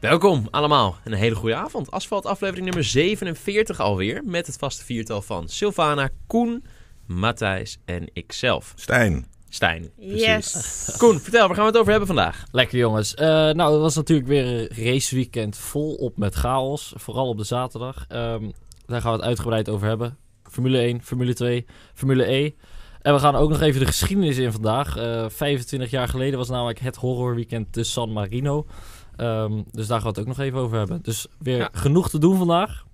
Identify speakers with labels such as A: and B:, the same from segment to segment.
A: Welkom allemaal en een hele goede avond. Asfalt aflevering nummer 47 alweer. Met het vaste viertal van Sylvana, Koen, Matthijs en ikzelf.
B: Stijn.
A: Stijn.
C: Yes.
A: Koen, vertel, waar gaan we het over hebben vandaag?
D: Lekker jongens. Eh, nou, het was natuurlijk weer een raceweekend volop met chaos. Vooral op de zaterdag. Ehm, daar gaan we het uitgebreid over hebben. Formule 1, Formule 2, Formule E. En we gaan ook nog even de geschiedenis in vandaag. Eh, 25 jaar geleden was namelijk het horrorweekend te San Marino. Ehm, dus daar gaan we het ook nog even over hebben. Dus weer
A: Ja.
D: genoeg te doen vandaag.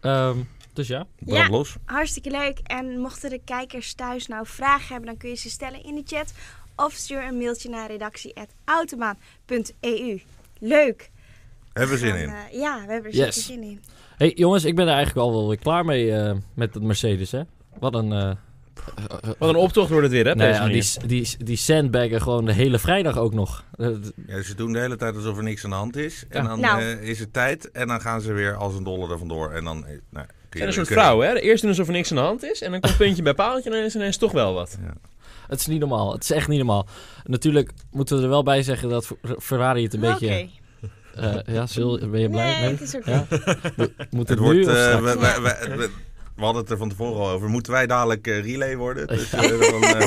D: Ehm, dus ja.
B: Brand
C: Ja.
B: los.
C: Hartstikke leuk. En mochten de kijkers thuis nou vragen hebben, dan kun je ze stellen in de chat. Of stuur een mailtje naar redactie.autobaan.eu. E Leuk.
B: Hebben we zin in.
C: Dan, eh, ja, we hebben er zeker
D: Yes.
C: zin in.
D: Hey jongens, ik ben er eigenlijk al wel weer klaar mee eh, met dat Mercedes, hè? Wat een... eh,
A: Wat een optocht wordt het weer, hè? op
D: Nee,
A: deze
D: ja,
A: manier.
D: die, die, die sandbaggen gewoon de hele vrijdag ook nog. Eh, d-
B: Ja, ze doen de hele tijd alsof er niks aan de hand is. En
A: Ja.
B: dan
C: Nou.
B: eh, is het tijd en dan gaan ze weer als een dolle er vandoor. En dan... eh, nou, kun je
A: zijn een
B: weer
A: soort
B: kunnen.
A: vrouwen, hè? Eerst doen alsof er niks aan de hand is. En dan komt puntje bij paaltje en dan is er ineens toch wel wat.
D: het is niet normaal. Het is echt niet normaal. Natuurlijk moeten we er wel bij zeggen dat Fer- Ferrari het een beetje...
C: Oh, Oké.
D: eh, ja, Sil, ben je blij?
C: Nee,
D: mee?
C: het is oké.
D: Ja?
B: Het
D: Moet het, nu
B: wordt...
D: of
B: eh,
D: straks?
B: we, we, we- we- we hadden het er van tevoren al over. Moeten wij dadelijk eh, relay worden? Dus, eh, dan, eh,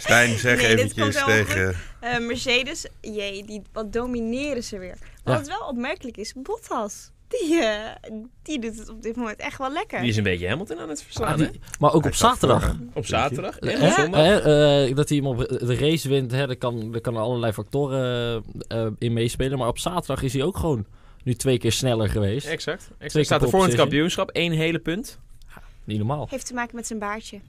B: Stijn, zeg
C: Nee, dit komt
B: eventjes
C: wel goed.
B: tegen...
C: Eh, Mercedes, jee, die, wat domineren ze weer.
D: Ja.
C: Wat wel opmerkelijk is, Bottas. Die, eh, die doet het op dit moment echt wel lekker.
A: Die is een beetje Hamilton aan het
D: Ah,
A: verslaan,
D: die- maar ook
B: Hij
D: op
B: staat voor,
D: zaterdag.
B: hè?
A: hè? Op zaterdag en op
D: Hè?
A: zondag.
D: Hè? Eh, dat hij hem op de race wint, hè, daar kan, daar kan allerlei factoren eh, in meespelen. Maar op zaterdag is hij ook gewoon nu twee keer sneller geweest.
A: Exact. exact.
D: keer
A: staat er
D: pole
A: voor in het
D: position.
A: kampioenschap. één hele punt.
D: Niet normaal.
C: Heeft te maken met zijn baardje.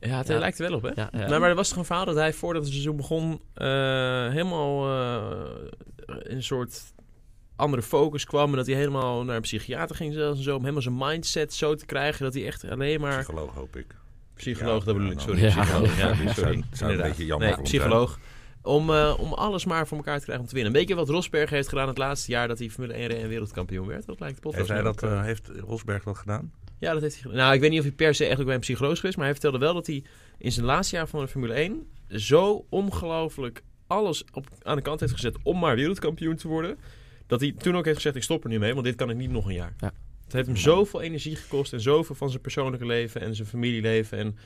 A: Ja, het eh,
D: Ja.
A: lijkt er wel op, hè?
D: Ja, ja.
A: Nou, maar er was toch een verhaal dat hij voordat het seizoen begon eh, helemaal eh, in een soort andere focus kwam. En dat hij helemaal naar een psychiater ging zelfs en zo. Om helemaal zijn mindset zo te krijgen dat hij echt alleen maar...
B: Psycholoog hoop ik.
A: Psycholoog,
B: Ja,
A: dat bedoel ik.
B: ja,
A: Sorry,
D: ja.
A: psycholoog. Ja,
B: Ja,
A: sorry.
B: zou- zou een
A: Inderdaad.
B: beetje jammer
A: Nee,
B: voor hem zijn.
A: psycholoog. Om, eh, om alles maar voor elkaar te krijgen om te winnen. Een beetje wat Rosberg heeft gedaan het laatste jaar dat hij Formule 1 reed en wereldkampioen werd. Dat lijkt de podcast
B: Heeft, hij
A: nu
B: dat,
A: ook, eh,
B: eh, heeft Rosberg dat gedaan?
A: ja, dat heeft hij gedaan. Nou, ik weet niet of hij per se echt ook bij een psycholoog is geweest, maar hij vertelde wel dat hij in zijn laatste jaar van de Formule 1 zo ongelooflijk alles op, aan de kant heeft gezet om maar wereldkampioen te worden, dat hij toen ook heeft gezegd, ik stop er nu mee, want dit kan ik niet nog een jaar.
D: Ja.
A: Het heeft hem zoveel energie gekost en zoveel van zijn persoonlijke leven en zijn familieleven en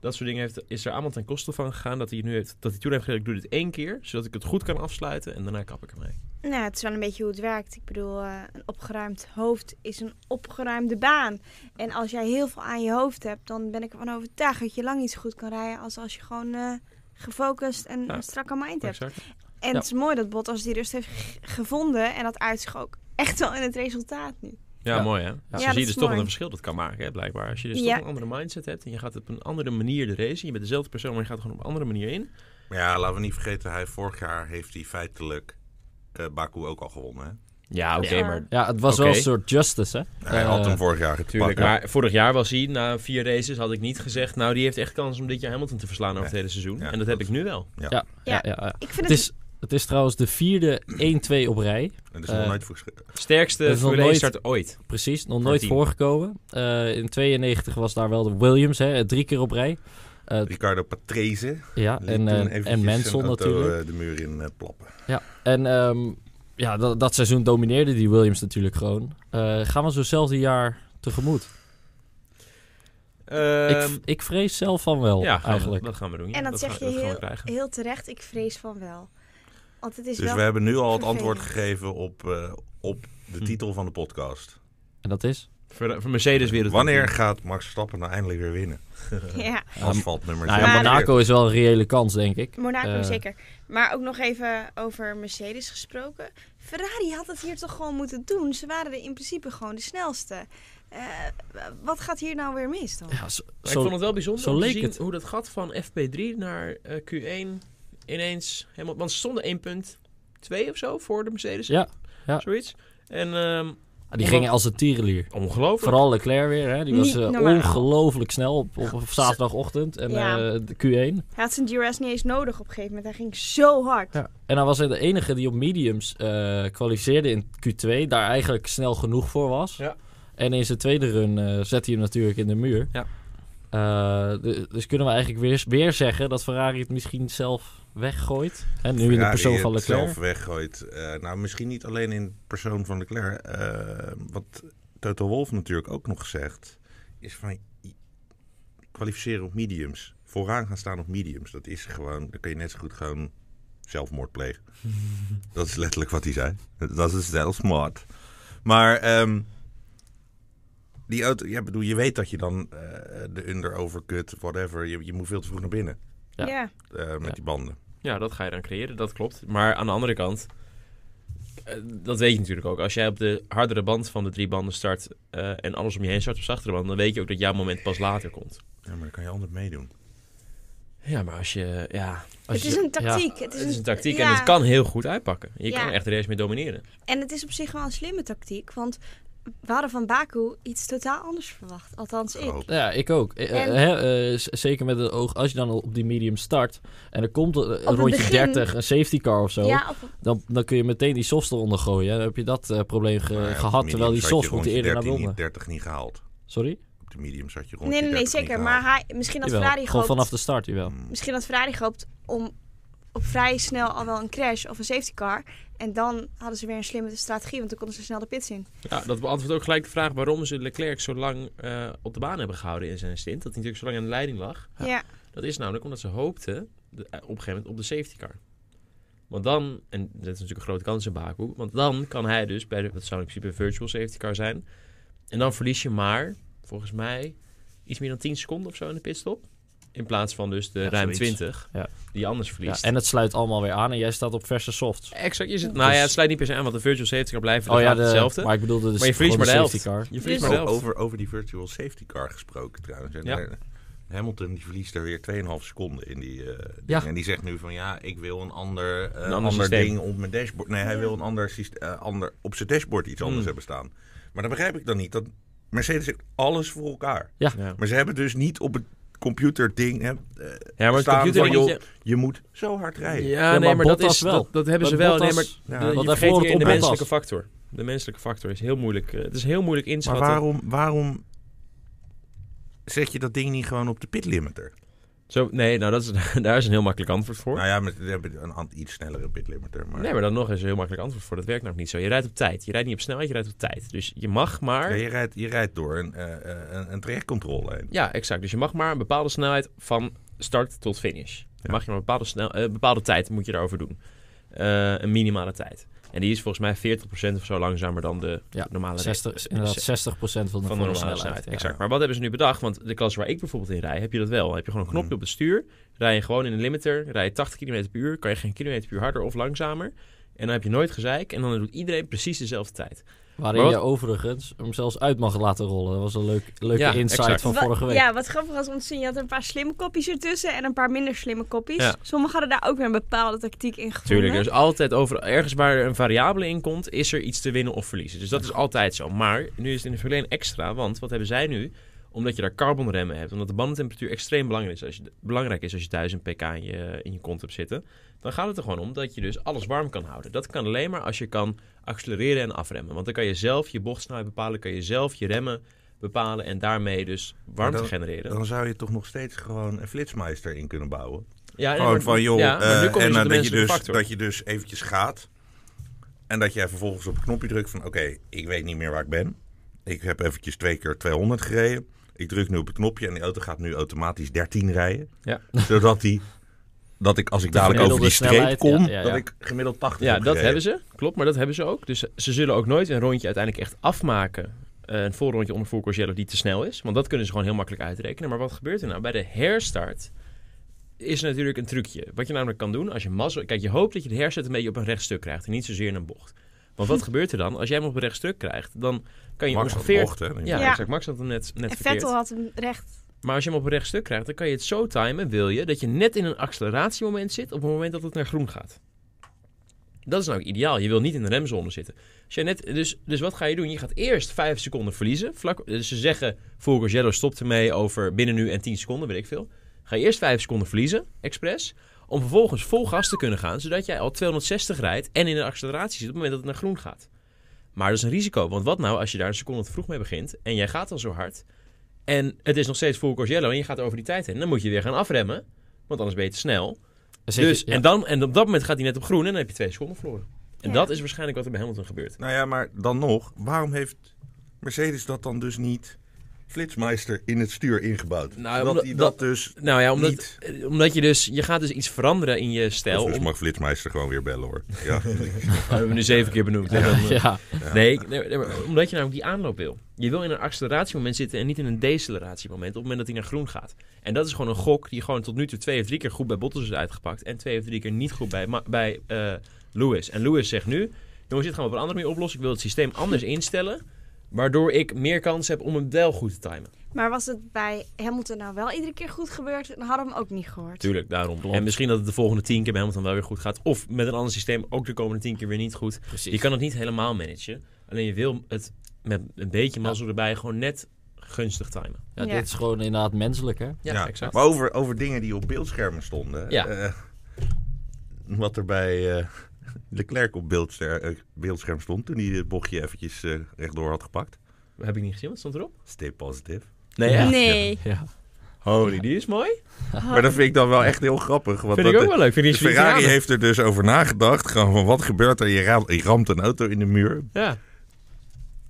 A: dat soort dingen heeft, is er allemaal ten koste van gegaan dat hij, nu heeft, dat hij toen heeft gezegd, ik doe dit één keer, zodat ik het goed kan afsluiten en daarna kap ik ermee.
C: Nou, het is wel een beetje hoe het werkt. Ik bedoel, eh, een opgeruimd hoofd is een opgeruimde baan. En als jij heel veel aan je hoofd hebt, dan ben ik ervan overtuigd dat je lang niet zo goed kan rijden als als je gewoon eh, gefocust en
A: Ja.
C: een strakke mind hebt.
A: Exact.
C: En
D: Ja.
C: het is mooi dat Bottas die rust heeft g- gevonden en dat uit zich ook echt wel in het resultaat nu.
A: Ja,
D: Ja.
A: mooi hè. Dus dan
C: dat
A: zie je
C: is
A: dus toch wel
C: mooi.
A: een verschil dat kan maken, hè, blijkbaar. Als je dus
C: Ja.
A: toch een andere mindset hebt en je gaat op een andere manier de race. Je bent dezelfde persoon, maar je gaat er gewoon op een andere manier in.
B: Maar ja, laten we niet vergeten. Hij, vorig jaar heeft hij feitelijk eh, Baku ook al gewonnen. Hè?
A: Ja,
C: oké, Ja. maar-
D: Ja, het was
A: Oké.
D: wel een soort justice, hè?
B: Hij had
D: Eh,
B: hem vorig jaar gepakt.
A: Tuurlijk, maar vorig jaar was hij, na vier races had ik niet gezegd... nou, die heeft echt kans om dit jaar Hamilton te verslaan over het hele seizoen.
B: Ja,
A: en dat heb ik nu wel.
D: Ja, ja,
C: Ja.
D: ja, ja.
C: Ik vind
D: Het
C: het,
D: is, het is trouwens de vierde 1-2 op rij.
B: En dat is nog
D: Eh,
B: nooit voor geschreven.
A: Sterkste
D: Dat is nog
A: Formule 1
D: nooit-
A: start ooit.
D: Precies, nog
A: Voor
D: nooit
A: tien.
D: voorgekomen. Eh, in 92 was daar wel de Williams, hè, drie keer op rij.
B: Ricardo Patrese.
D: Ja,
B: liet
D: en,
B: toen
D: eh,
B: eventjes
D: en Mansell
B: zijn auto,
D: natuurlijk.
B: eh, de muur in eh, plappen.
D: Ja, en ehm, ja, dat, dat seizoen domineerde die Williams natuurlijk gewoon. Eh, gaan we zo'nzelfde jaar tegemoet?
A: Ehm,
D: ik, ik vrees zelf van wel,
A: ja, gaan we-
D: eigenlijk.
A: dat gaan we doen. ja.
C: en dat,
A: gaan-
C: zeg je
A: gaan we
C: heel,
A: krijgen.
C: heel terecht, ik vrees van wel. Want het is
B: Dus
C: wel...
B: we hebben nu al het
C: vervelend.
B: antwoord gegeven op, eh, op de
A: Hm.
B: titel van de podcast.
D: En dat is?
A: Voor, voor Mercedes weer
B: Wanneer gaat Max Verstappen nou eindelijk weer winnen?
C: Ja,
B: Asfalt nummer
D: Nou
C: Maar-
D: ja, Monaco is wel een reële kans, denk ik.
C: Monaco
D: Eh,
C: zeker. Maar ook nog even over Mercedes gesproken. Ferrari had het hier toch gewoon moeten doen. Ze waren er in principe gewoon de snelste. Eh, wat gaat hier nou weer mis dan?
D: Ja, zo,
A: Maar ik
D: zo-
A: vond het wel bijzonder
D: zo
A: om te
D: leek
A: zien
D: het.
A: hoe dat gat van FP3 naar eh, Q1 ineens helemaal... Want ze stonden 1.2 of zo voor de Mercedes.
D: Ja, ja.
A: Zoiets. En ehm,
D: die gingen als een tierenlier.
A: ongelooflijk.
D: Vooral Leclerc weer, hè? die was
C: Niet
D: eh,
C: normaal.
D: ongelooflijk snel op, op, op zaterdagochtend en
C: Ja.
D: eh, de Q1.
C: Hij had zijn DRS niet eens nodig op een gegeven moment. Hij ging zo hard.
D: En hij was hij de enige die op mediums eh, kwalificeerde in Q2, daar eigenlijk snel genoeg voor was.
A: Ja.
D: En in zijn tweede run eh, zet hij hem natuurlijk in de muur.
A: Ja.
D: Eh, de- dus kunnen we eigenlijk weer, weer zeggen dat Ferrari het misschien zelf weggooit. En nu in de
B: Ferrari
D: persoon van
B: het
D: Leclerc.
B: zelf weggooit. Eh, nou, misschien niet alleen in de persoon van Leclerc. Eh, wat Toto Wolf natuurlijk ook nog zegt, is van i- kwalificeren op mediums. Vooraan gaan staan op mediums. Dat is gewoon, dan kun je net zo goed gewoon zelfmoord plegen. dat is letterlijk wat hij zei. Dat is zelfmoord. Maar ehm, die auto, ja, bedoel, je weet dat je dan eh, de under, overcut, whatever, je, je moet veel te vroeg naar binnen
D: Ja.
C: Ja.
B: eh, met
D: Ja.
B: die banden.
A: Ja, dat ga je dan creëren, dat klopt. Maar aan de andere kant, eh, dat weet je natuurlijk ook. Als jij op de hardere band van de drie banden start eh, en alles om je heen start op zachtere band, dan weet je ook dat jouw moment pas later komt.
B: Ja, maar dan kan je altijd meedoen.
A: Ja, maar als je, ja,
D: Als
C: Het
D: je-
C: is een
D: ja.
C: tactiek. het, is
A: het is een tactiek en
C: ja.
A: het kan heel goed uitpakken. Je
C: Ja.
A: kan echt de race mee domineren.
C: En het is op zich wel een slimme tactiek, want we hadden van Baku iets totaal anders verwacht. Althans, ik.
B: Oh.
D: Ja, ik ook. Eh, eh,
C: En-
D: hè, eh, z- zeker met het oog, als je dan al op die medium start en er komt eh, een, een
C: het
D: rondje
C: begin-
D: 30, een safety car of zo,
C: Ja, op-
D: dan, dan kun je meteen die softs eronder gooien. Dan heb je dat eh, probleem ge-
B: Maar op de
D: gehad, terwijl die
B: mediums had
D: softs
B: je rondje
D: moeten eerder naar
B: 13
D: bonden.
B: niet- 30 niet gehaald.
D: Sorry?
B: Op de mediums had je rond.
C: nee, nee, nee, zeker. Maar hij, misschien had
D: Jawel,
C: Ferrari
D: gewoon
C: gehoopt...
D: vanaf de start,
A: Mm,
D: jawel.
C: Misschien had Ferrari gehoopt om op vrij snel al wel een crash of een safety car. En dan hadden ze weer een slimme strategie, want dan konden ze snel de pits in.
A: Ja, dat beantwoordt ook gelijk de vraag waarom ze Leclerc zo lang eh, op de baan hebben gehouden in zijn stint. Dat hij natuurlijk zo lang aan de leiding lag.
C: Ja,
A: Dat is namelijk omdat ze hoopten de- eh, op een gegeven moment op de safety car. Want dan, en dat is natuurlijk een grote kans in Baku, want dan kan hij dus bij de, dat zou in principe een virtual safety car zijn. En dan verlies je maar, volgens mij, iets meer dan 10 seconden of zo in de pitstop. In plaats van dus de
D: Ja,
A: ruim
D: zoiets.
A: 20
D: Ja.
A: die je anders
D: Ja,
A: verliest.
D: en het sluit allemaal weer aan en jij staat op verse softs.
A: Exact, je zit, nou ja, het sluit niet per se aan, want de virtual safety car blijft
D: Dus- oh ja, de-
A: hetzelfde.
D: maar ik bedoelde dus
A: Maar je verliest
D: gewoon
A: maar de
D: safety car.
A: je verliest
C: Dus-
A: maar de helft.
B: over, over die virtual safety car gesproken trouwens. En
A: Ja.
B: daar- Hamilton die verliest er weer 2,5 seconden in die eh, ding.
D: Ja.
B: En die zegt nu van ja, ik wil een ander, eh,
A: ander
B: ander,
A: systeem.
B: ding op mijn dashboard. Nee, hij wil een ander, syste- eh, ander op zijn dashboard iets anders
D: Hmm.
A: Mm.
B: hebben staan. Maar dat begrijp ik dan niet. Dat Mercedes heeft alles voor elkaar.
A: Ja.
B: Maar ze hebben dus niet op het computerding hè, eh,
A: Ja, maar het
B: staan
A: computer
B: van
A: moet
B: joh,
A: je-
B: je... moet zo hard rijden.
A: Ja,
D: Ja,
A: nee,
D: maar
A: maar, dat,
D: Bottas
A: is,
D: wel.
A: dat, dat hebben ze
D: Want
A: wel. Nee, maar,
D: Bottas-
B: Ja,
A: de-
D: want
A: je
D: daarvoor
A: vergeet
D: wordt
A: weer de
D: Bottas.
A: menselijke factor. De menselijke factor is heel moeilijk. eh, Het is heel moeilijk
B: Maar
A: inschatten.
B: waarom, waarom zet je dat ding niet gewoon op de pitlimiter?
A: Zo, nee, nou, dat is, daar is een heel makkelijk antwoord voor.
B: Nou ja, met, we hebben een an- iets snellere pitlimiter. Maar,
A: Nee, maar dan nog is een heel makkelijk antwoord voor. Dat werkt nog niet zo. Je rijdt op tijd. Je rijdt niet op snelheid, je rijdt op tijd. Dus je mag maar...
B: Ja, je, rijdt, je rijdt door een, eh, eh, een, een trajectcontrole heen.
A: Ja, exact. Dus je mag maar een bepaalde snelheid van start tot finish. Dan Mag je maar een bepaalde, snel, eh, bepaalde tijd moet je daarover doen. Eh, een minimale tijd. En die is volgens mij 40% of zo langzamer dan de
D: Ja,
A: normale
D: 60,
A: eh,
D: inderdaad, 60 van de,
A: van de
D: volle
A: normale snelheid.
D: snelheid. ja.
A: Exact. Maar wat hebben ze nu bedacht? Want de klas waar ik bijvoorbeeld in rij, heb je dat wel. Heb je gewoon een knopje
B: Mhm.
A: op het stuur, rij je gewoon in een limiter, rij je 80 km per uur, kan je geen kilometer per uur harder of langzamer. En dan heb je nooit gezeik en dan doet iedereen precies dezelfde tijd.
D: Waarin
A: Maar
D: je
A: wat-
D: overigens hem zelfs uit mag laten rollen. Dat was een leuk, leuke
A: Ja,
D: insight
A: exact.
D: van
C: Wa-
D: vorige week.
C: Ja, wat grappig was om te zien. Je had een paar slimme kopjes ertussen en een paar minder slimme kopjes.
A: Ja.
C: Sommigen hadden daar ook weer een bepaalde tactiek in gevonden.
A: Tuurlijk, er is altijd over, ergens waar er een variabele in komt, is er iets te winnen of verliezen. Dus dat is altijd zo. Maar nu is het in de Formule 1 extra, want wat hebben zij nu? Omdat je daar carbonremmen hebt, omdat de bandentemperatuur extreem belangrijk is als je, belangrijk is als je 1000 pk in je, in je kont hebt zitten, dan gaat het er gewoon om dat je dus alles warm kan houden. Dat kan alleen maar als je kan accelereren en afremmen. Want dan kan je zelf je bochtsnelheid bepalen, kan je zelf je remmen bepalen en daarmee dus warmte
B: Maar
A: genereren.
B: Dan zou je toch nog steeds gewoon een flitsmeister in kunnen bouwen.
A: Ah, ja, en-
B: Gewoon
A: maar-
B: van joh,
A: ja, maar nu
B: eh,
A: kom je
B: en
A: dus op
B: eh,
A: de
B: dat, je
A: menselijke
B: dus,
A: factor.
B: dat je dus eventjes gaat. En dat jij vervolgens op het knopje drukt van oké, ik weet niet meer waar ik ben. Ik heb eventjes twee keer 200 gereden. Ik druk nu op het knopje en die auto gaat nu automatisch 13 rijden.
A: Ja.
B: Zodat die, dat ik als ik
D: De
B: dadelijk over die
D: gemiddelde
B: streep kom,
D: snelheid, ja, ja, ja.
B: dat ik gemiddeld 80
A: Ja,
B: heb
A: dat
B: gereden.
A: hebben ze. Klopt, maar dat hebben ze ook. Dus ze zullen ook nooit een rondje uiteindelijk echt afmaken. eh, een voorrondje onder voorkoers yellow die te snel is. Want dat kunnen ze gewoon heel makkelijk uitrekenen. Maar wat gebeurt er nou? Bij de herstart is er natuurlijk een trucje. Wat je namelijk kan doen als je mazzel... Kijk, je hoopt dat je de herstart een beetje op een recht stuk krijgt. En niet zozeer in een bocht. Want wat gebeurt er dan? Als jij hem op een recht stuk krijgt, dan kan je
B: Max had
A: ongeveer...
B: bocht, hè?
A: Ja,
C: Ja.
A: exact. Max had hem net, net
C: En
A: verkeerd.
C: Vettel had hem recht.
A: Maar als je hem op een recht stuk krijgt, dan kan je het zo timen, wil je, dat je net in een acceleratiemoment zit op het moment dat het naar groen gaat. Dat is nou ook ideaal. Je wil niet in de remzone zitten. Als jij net, dus, dus wat ga je doen? Je gaat eerst 5 seconden verliezen. Vlak, dus ze zeggen, Fulgorzello stopt ermee over binnen nu en 10 seconden, weet ik veel. Ga je eerst 5 seconden verliezen, expres. Om vervolgens vol gas te kunnen gaan, zodat jij al 260 rijdt en in een acceleratie zit op het moment dat het naar groen gaat. Maar dat is een risico, want wat nou als je daar een seconde te vroeg mee begint en jij gaat al zo hard En het is nog steeds full course yellow en je gaat over die tijd heen. Dan moet je weer gaan afremmen, want anders ben je te snel.
D: Dan zit je-
A: Dus,
D: ja.
A: en, dan, en op dat moment gaat hij net op groen en dan heb je twee seconden verloren. En
C: Ja.
A: dat is waarschijnlijk wat er bij Hamilton gebeurt.
B: Nou ja, maar dan nog, waarom heeft Mercedes dat dan dus niet Flitsmeister in het stuur ingebouwd?
A: Nou,
B: dat
A: omdat-
B: hij dat,
A: dat-
B: dus.
A: Nou ja, omdat,
B: Niet.
A: eh, omdat je dus... Je gaat dus iets veranderen in je stijl.
B: Dus
A: om-
B: mag Flitsmeister gewoon weer bellen hoor. Ja,
A: We hebben nu zeven keer benoemd. hè, dan, eh,
D: ja.
A: Nee, nee, nee, maar omdat je namelijk die aanloop wil. Je wil in een acceleratiemoment zitten en niet in een deceleratiemoment. Op het moment dat hij naar groen gaat. En dat is gewoon een gok die gewoon tot nu toe twee of drie keer goed bij Bottas is uitgepakt. En twee of drie keer niet goed bij, Ma- bij eh, Lewis. En Lewis zegt nu: jongens, dit gaan we op een andere manier oplossen. Ik wil het systeem anders instellen. Waardoor ik meer kans heb om hem wel goed te timen.
C: Maar was het bij Hamilton nou wel iedere keer goed gebeurd, dan hadden we hem ook niet gehoord.
A: Tuurlijk, daarom.
D: Klopt.
A: En misschien dat het de volgende tien keer bij Hamilton wel weer goed gaat. Of met een ander systeem ook de komende tien keer weer niet goed.
D: Precies.
A: Je kan het niet helemaal managen. Alleen je wil het met een beetje mazzel erbij gewoon net gunstig timen.
D: ja,
C: Ja.
D: Dit is gewoon inderdaad menselijk, hè?
A: Ja, exact.
B: Maar over, over dingen die op beeldschermen stonden.
A: Ja.
B: eh, wat er bij eh Leclerc op beeldster- eh, beeldscherm stond toen hij het bochtje eventjes eh, rechtdoor had gepakt.
A: Heb ik niet gezien, wat stond erop?
B: Stay positive.
A: Nee,
D: Ja.
C: Nee.
D: Ja.
A: Holy, die is mooi.
B: Maar dat vind ik dan wel echt heel grappig. Want
A: Vind
B: dat
A: ik ook
B: de-
A: wel leuk. Vind je
B: de Ferrari heeft er dus over nagedacht. Gewoon van wat gebeurt er? Je, ra- je ramt een auto in de muur.
A: Ja.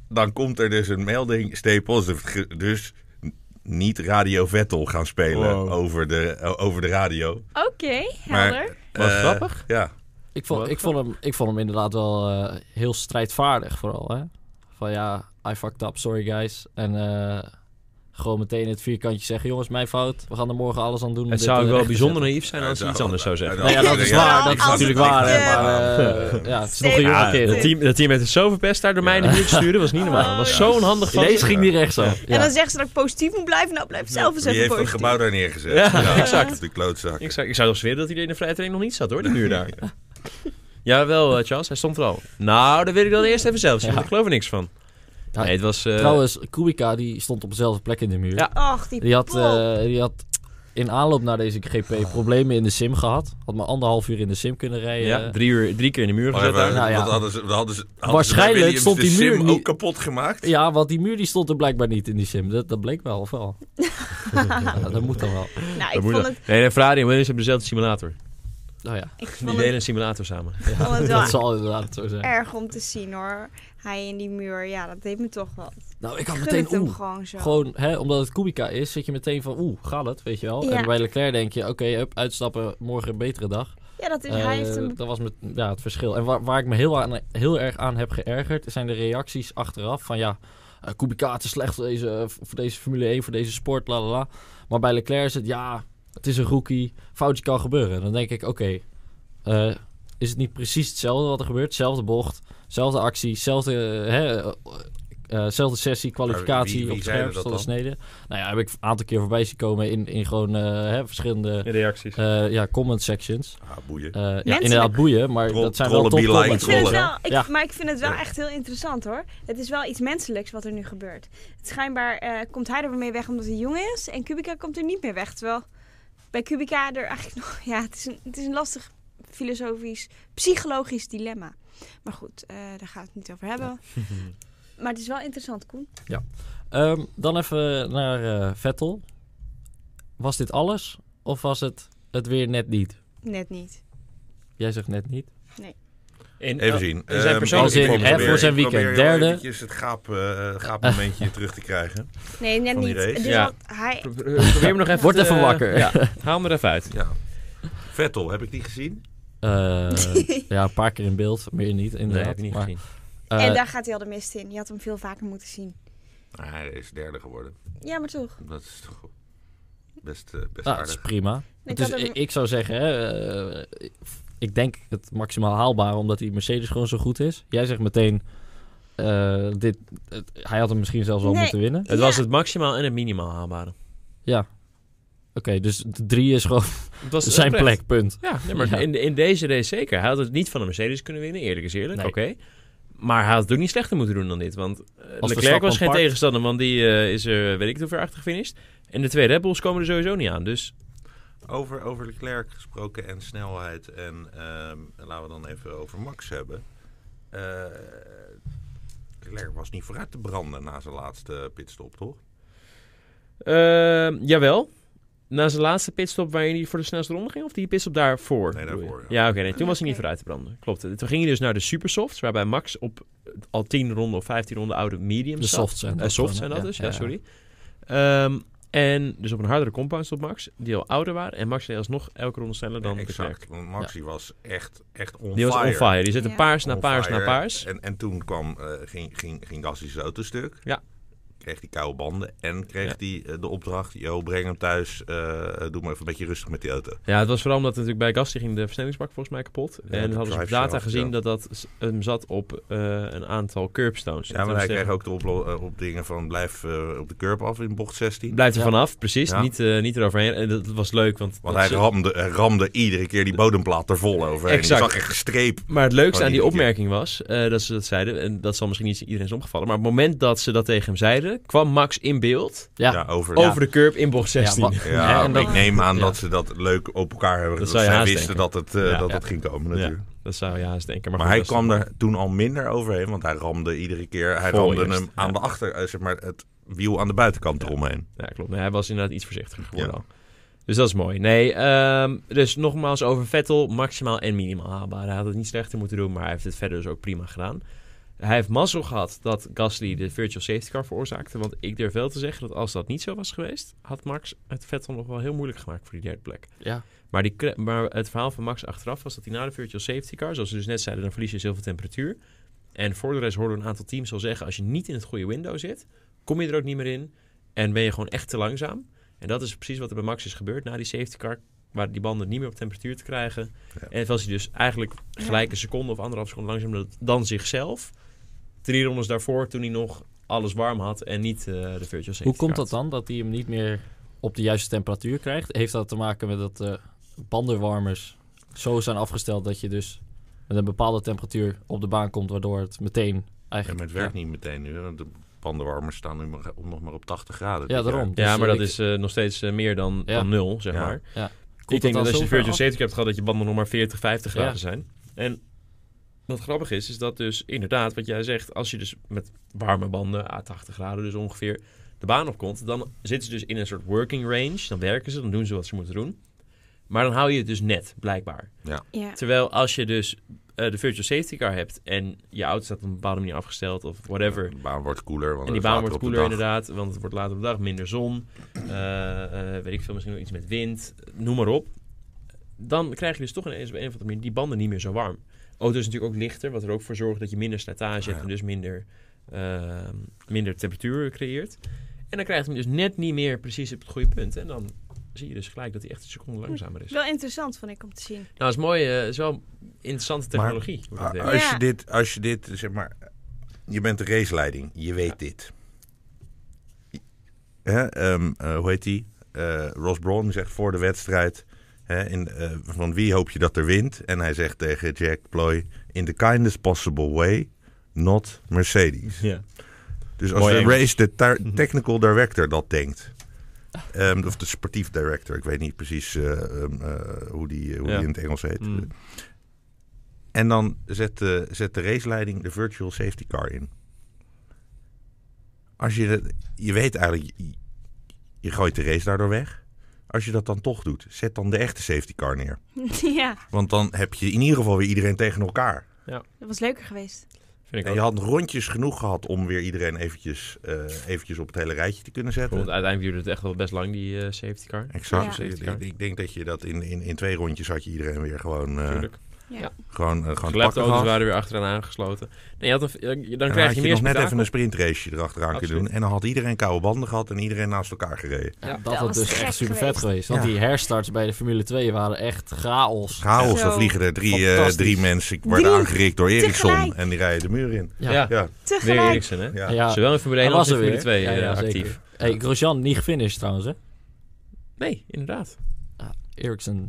B: Dan komt er dus een melding. Stay positive. Ge- Dus n- niet Radio Vettel gaan spelen
A: Wow.
B: over, de, o- over de radio.
C: Oké,
B: Maar-
C: helder.
A: Wat
B: Eh,
A: grappig.
B: Ja.
D: Ik vond,
A: Wat?
D: ik, vond hem, ik vond hem inderdaad wel eh, heel strijdvaardig vooral. Hè? Van ja, I fucked up, sorry guys. En eh, gewoon meteen in het vierkantje zeggen... jongens, mijn fout, we gaan er morgen alles aan doen. om
A: Het
D: dit,
A: zou
D: eh,
A: wel
D: recht te
A: bijzonder
D: zetten.
A: naïef zijn als hij
B: Nou,
A: iets anders zou zeggen.
D: Nou ja, dat is waar, dat is
C: Als
D: natuurlijk
C: het
D: waar.
C: niet,
D: Hè,
C: eh,
D: maar eh, ja, het is nog een
C: Nee,
D: jonge
B: maar-
A: Dat
D: kid.
A: team, dat team heeft het zo verpest daar door mij in de
D: Ja.
A: buurt te sturen. was niet normaal. was zo'n handig van.
D: Ineens ging die recht zo.
C: En dan
D: eh, Ja.
C: zeggen ze dat ik positief moet blijven. Nou, blijf zelf eens
B: Wie heeft
C: even
B: dat
C: positief.
B: gebouw daar neergezet?
A: Ja,
B: exact. De klootzak.
A: Ik zou, ik zou toch zweren dat hij er in de vrije training nog niet zat hoor, die muur daar. Jawel, eh, Charles, hij stond er al. Nou, dat wil ik dan eerst even zelf zien,
D: Ja.
A: want ik geloof er niks van.
D: Ja,
A: Nee, het was... eh,
D: Trouwens, Kubica die stond op dezelfde plek in de muur.
A: Ja.
C: Och, die,
D: Die had,
C: pol.
D: eh, die had in aanloop naar deze GP problemen in de sim gehad. Had maar anderhalf uur in de sim kunnen rijden.
A: ja, drie, uur, drie keer in de muur
B: Maar
A: gezet
B: even,
A: daar.
D: Nou ja.
B: dat hadden ze, dat hadden ze, hadden ze bij
D: Waarschijnlijk
B: Williams
D: stond
B: de
D: die muur
B: sim
D: niet-
B: ook kapot gemaakt.
D: Ja, want die muur die stond er blijkbaar niet in die sim. Dat, dat bleek wel, of wel? ja, dat moet dan wel.
C: nou,
A: Dat
C: ik
A: moet
C: vond
A: dan.
C: het,
A: Nee, nee, Ferrari en Williams hebben dezelfde simulator.
D: Nou ja,
C: ik
A: Die
C: vond het
A: delen een simulator samen.
C: vond het wel
D: dat zal inderdaad zo zijn.
C: erg om te zien hoor. Hij in die muur, ja, dat deed me toch wat.
D: Nou, ik had
C: Ik gun het
D: meteen
C: hem
D: oeh.
C: gewoon zo.
D: Gewoon, hè, omdat het Kubica is, zit je meteen van oeh, gaat het, weet je wel.
C: Ja.
D: En bij Leclerc denk je, oké, hup, uitstappen, morgen een betere dag.
C: Ja, dat is, Dus hij heeft
D: Eh,
C: een...
D: Dat was met, ja, het verschil. En waar, waar ik me heel, aan, heel erg aan heb geërgerd, zijn de reacties achteraf van ja, eh Kubica het is slecht voor deze, voor deze Formule 1, voor deze sport, la la la. Maar bij Leclerc is het ja, het is een rookie, foutje kan gebeuren. Dan denk ik, oké, eh, is het niet precies hetzelfde wat er gebeurt? Zelfde bocht, zelfde actie, zelfde, eh, hè, eh, eh, zelfde sessie, kwalificatie
B: wie- wie
D: op het
B: zeiden
D: scherm,
B: dat
D: tot de
B: dan?
D: snede. Nou ja, heb ik een aantal keer voorbij zien komen in, in gewoon eh, hè, verschillende
A: reacties.
D: eh, ja, comment sections.
B: Ah, boeien.
D: Eh, ja,
C: Menselijk.
D: inderdaad boeien, maar
B: Troll-
D: dat zijn wel
B: trollen be
D: topcomments.
B: lying
C: Ik vind het
B: trollen.
C: wel, ik,
D: Ja.
C: Maar ik vind het wel
B: Ja.
C: echt heel interessant hoor. Het is wel iets menselijks wat er nu gebeurt. Het schijnbaar eh, komt hij er weer mee weg omdat hij jong is. En Kubica komt er niet meer weg. Terwijl bij Kubica er eigenlijk nog... Ja, het is een, het is een lastig filosofisch, psychologisch dilemma. Maar goed, eh, daar gaan we het niet over hebben. Maar het is wel interessant, Koen.
D: Ehm, dan even naar eh, Vettel. Was dit alles of was het het weer net niet?
C: Net niet.
D: Jij zegt net niet. Eh,
B: Even zien.
A: in Oh. zijn
B: Ehm,
A: persoonlijke
B: ik
A: zin,
B: probeer-
A: hè, voor
D: zijn
B: ik probeer
D: weekend
B: heel
D: derde.
B: eventjes het gaap, eh, gaapmomentje terug te krijgen.
C: Nee, net
B: Van die
C: niet.
B: race?
C: Dus
A: Ja.
C: wat hij,
A: Pro- pro- Probeer me nog even
D: Word
A: te- eh,
D: even wakker.
A: Ja, haal hem er even uit.
B: Ja. Vettel, heb ik die gezien?
D: Eh, ja, een paar keer in beeld, meer niet
A: Nee,
D: inderdaad.
A: heb ik niet
D: maar,
A: gezien.
D: eh,
C: en daar gaat hij al de mist in. Je had hem veel vaker moeten zien.
B: Ah, hij is derde geworden.
C: Ja, maar toch.
B: Dat is toch best, eh, best
D: nou, dat
B: aardig.
D: is prima.
C: Ik
D: Dus
C: had hem-
D: ik, ik zou zeggen, hè, eh, ik denk het maximaal haalbare omdat die Mercedes gewoon zo goed is. Jij zegt meteen, eh, dit, het- hij had hem misschien zelfs wel
C: Nee.
D: moeten winnen.
A: Het
C: Ja.
A: was het maximaal en het minimaal haalbare.
D: Ja. Oké, dus de drie is gewoon
A: Het was
D: zijn
A: oprecht.
D: plek, punt.
A: Ja, nee, maar
D: Ja.
A: In, in deze race zeker. Hij had het niet van een Mercedes kunnen winnen, eerlijk is eerlijk.
D: Nee.
A: Oké. Maar hij had het ook niet slechter moeten doen dan dit. Want eh, Leclerc
D: Verstappen
A: was geen
D: pakt.
A: tegenstander, want die eh, is er weet ik het hoeveel achter gefinished. En de twee Red Bulls komen er sowieso niet aan. Dus
B: Over, over Leclerc gesproken en snelheid. En ehm, laten we dan even over Max hebben. Eh, Leclerc was niet vooruit te branden na zijn laatste pitstop, toch?
A: Ehm, jawel. Na zijn laatste pitstop waarin hij voor de snelste ronde ging? Of die pitstop daarvoor?
B: Nee, daarvoor,
A: Bedoel je?
B: ja.
A: Ja, oké. nee, toen was hij niet
C: Oké.
A: vooruit te branden. Klopt. Toen ging hij dus naar de supersofts, waarbij Max op al 10 ronden of 15 ronden oude medium
D: De
A: zat.
D: softs zijn
A: Eh,
D: dat.
A: soft
D: gewoon,
A: zijn dat
D: hè?
A: dus, ja, sorry. Ehm, en dus op een hardere compound stond Max, die al ouder waren. En Max deed alsnog elke ronde sneller dan Leclerc.
B: exact. Want Maxi was echt, echt on
A: Die was
B: fire.
A: on fire. Die zette
C: Ja.
A: paars na
B: On
A: paars na
B: fire.
A: paars.
B: En, en toen kwam, eh, ging, ging, ging Gasly zijn auto stuk.
A: Ja.
B: Kreeg hij koude banden en
A: Ja.
B: kreeg hij eh, de opdracht... Yo, breng hem thuis, eh, doe maar even een beetje rustig met die auto.
A: Ja, het was vooral omdat natuurlijk bij Gasly ging de versnellingsbak volgens mij kapot. en
B: Ja, de
A: dan hadden ze op
B: drive
A: data
B: shaft,
A: gezien
B: ja.
A: dat dat s- hem zat op eh, een aantal curbstones.
B: Ja, maar hij kreeg ook de oplo- eh, opdingen van blijf eh, op de curb af in bocht 16.
A: Blijf er
D: Ja.
A: vanaf, precies.
B: Ja.
A: Niet, eh, niet eroverheen. En dat was leuk, want...
B: Want
A: dat
B: hij
A: ze-
B: ramde, hij ramde iedere keer die bodemplaat er vol over. En je
A: Exact.
B: zag echt een streep.
A: Maar het leukste
B: Oh,
A: aan die
B: die- die-
A: opmerking was eh, dat ze dat zeiden, en dat zal misschien niet iedereen is opgevallen, maar op het moment dat ze dat tegen hem zeiden, kwam Max in beeld
D: Ja.
B: Ja, over.
D: Ja.
A: over de curb in bocht 16.
D: Ja, wa-
B: Ja,
D: Ja, en
B: maar
D: dat-
B: ik neem aan
D: ja.
B: dat ze dat leuk op elkaar hebben.
A: Dat
B: Dat,
A: zou je
B: zij
A: haast
B: wisten dat het, eh,
A: Ja.
B: dat
A: Ja.
B: het ging komen
A: Ja.
B: natuurlijk.
A: Dat zou ja eens denken. Maar,
B: Maar
A: goed,
B: hij
A: dat is-
B: kwam er toen al minder overheen, want hij ramde iedere keer. Hij
A: Vol
B: ramde
A: eerst,
B: hem aan
A: ja.
B: de achter, eh, zeg maar, het wiel aan de buitenkant eromheen.
A: Ja, klopt. Nee, hij was inderdaad iets voorzichtiger geworden
B: Ja.
A: al. Dus dat is mooi. Nee, ehm, dus nogmaals over Vettel, maximaal en minimaal haalbaar. Hij had het niet slechter moeten doen, maar hij heeft het verder dus ook prima gedaan. Hij heeft mazzel gehad dat Gasly de virtual safety car veroorzaakte. Want ik durf wel te zeggen dat als dat niet zo was geweest, had Max het Vettel nog wel heel moeilijk gemaakt voor die derde plek.
D: Ja.
A: Maar, die, cre- maar het verhaal van Max achteraf was dat hij na de virtual safety car, zoals we dus net zeiden, dan verlies je zoveel temperatuur. En voor de rest hoorden we een aantal teams al zeggen, als je niet in het goede window zit, kom je er ook niet meer in en ben je gewoon echt te langzaam. En dat is precies wat er bij Max is gebeurd na die safety car, waren die banden niet meer op temperatuur te krijgen.
B: Ja.
A: En was hij dus eigenlijk gelijk een seconde of anderhalf seconde langzamer dan zichzelf. Drie rondes daarvoor, toen hij nog alles warm had en niet eh, de virtual safety
D: Hoe komt
A: car.
D: dat dan, dat hij hem niet meer op de juiste temperatuur krijgt? Heeft dat te maken met dat de bandenwarmers zo zijn afgesteld dat je dus met een bepaalde temperatuur op de baan komt, waardoor het meteen
B: En
D: eigenlijk...
B: met werk niet meteen nu, hè, want de bandenwarmers staan nu maar, nog maar op 80 graden.
D: Ja,
B: dit jaar.
D: daarom.
A: Ja,
D: Dus,
A: maar
D: eh,
A: dat
D: ik-
A: is eh, nog steeds eh, meer dan,
D: Ja.
A: dan nul, zeg
B: Ja.
A: maar.
D: koelt
A: ik denk
D: het
A: dat
D: dan
A: als je
D: zo ver
A: virtual safety
D: af?
A: car hebt gehad, dat je banden nog maar 40, 50
D: Ja.
A: graden zijn. En wat grappig is, is dat dus inderdaad, wat jij zegt, als je dus met warme banden, a 80 graden dus ongeveer, de baan opkomt, dan zitten ze dus in een soort working range. Dan werken ze, dan doen ze wat ze moeten doen. Maar dan hou je het dus net, blijkbaar.
D: e-
C: Ja.
A: Terwijl als je dus eh, de virtual safety car hebt en je auto staat op een bepaalde manier afgesteld of whatever,
B: eh, De baan wordt koeler. Want
A: en die
B: het
A: baan
B: water
A: wordt
B: Oh, op de
A: koeler
B: dag.
A: inderdaad, want het wordt later op de dag minder zon. eh, eh, weet ik veel, misschien nog iets met wind. Noem maar op. Dan krijg je dus toch ineens op een of andere manier die banden niet meer zo warm. Auto is natuurlijk ook lichter, wat er ook voor zorgt dat je minder slijtage hebt
B: Ja.
A: en dus minder, eh, minder temperatuur creëert. En dan krijgt hij hem dus net niet meer precies op het goede punt. En dan zie je dus gelijk dat hij echt een seconde langzamer is. Nou,
C: Wel interessant vond ik om te zien.
A: dat is mooi. eh, is wel interessante
B: Maar- Ah,
A: technologie. wordt het
B: Maar
A: echt.
B: Als
C: Ja.
B: je dit, als je dit, zeg maar, je bent de raceleiding, je weet dit. Hè, ehm, eh, hoe heet die? Eh, Ross Brawn zegt voor de wedstrijd, hè, in, eh, van wie hoop je dat er wint? En hij zegt tegen Jack Ploy, in the kindest possible way, not Mercedes.
A: ja.
B: Dus als
A: Mooi
B: de
A: Engels. Mhm.
B: race de tar- technical director dat denkt. Ehm, of de sportief director, ik weet niet precies eh, ehm, eh, hoe, die, hoe
A: Ja.
B: die in het Engels heet.
A: Mm.
B: En dan zet de, zet de raceleiding de virtual safety car in. Als je, dat- je weet eigenlijk, je, je gooit de race daardoor weg. Als je dat dan toch doet, zet dan de echte safety car neer.
C: ja,
B: Want dan heb je in ieder geval weer iedereen tegen elkaar.
C: dat was leuker geweest.
A: Vind ik
B: En
A: ook.
B: je had rondjes genoeg gehad om weer iedereen eventjes, eh, eventjes op het hele rijtje te kunnen zetten.
A: Want uiteindelijk duurde het echt wel best lang, die eh, safety car.
B: Exact.
A: Ja.
B: Ik- Ik, ik denk dat je dat in, in, in twee rondjes had je iedereen weer gewoon, eh
A: Tuurlijk.
C: Ja.
A: Ja.
B: gewoon, eh, gewoon te
A: Gelapte
B: pakken
A: auto's
B: gehad.
A: waren weer achteraan aangesloten. Nee, je had een, eh, dan
B: En
A: krijg je
B: had je,
A: meer
B: nog net
A: spektakel.
B: even een sprintraceje erachteraan kunnen doen. En dan had iedereen koude banden gehad en iedereen naast elkaar gereden.
D: Ja, dat,
C: Dat
D: had
C: was
D: dus
C: gek
D: echt super vet
C: geweest.
D: geweest. Want
B: Ja.
D: die herstarts bij de Formule 2 waren echt chaos.
B: Chaos,
C: Zo.
B: dan vliegen er drie, eh,
D: Fantastisch.
B: drie mensen, worden
C: Drie.
B: aangerikt door Ericsson.
C: Tegelijk.
B: En die rijden de muur in.
A: Ja,
D: ja.
B: Ja,
A: weer
C: Tegelijk.
A: Eriksen, hè?
B: ja.
D: ja.
A: Zowel in Formule 1
D: Hij
A: als in
D: er
A: Formule
D: weer.
A: 2
D: Ja,
A: eh,
D: ja, zeker.
A: actief.
D: Hey, Grosjean niet gefinished trouwens, hè?
A: Nee, inderdaad.
D: Ericsson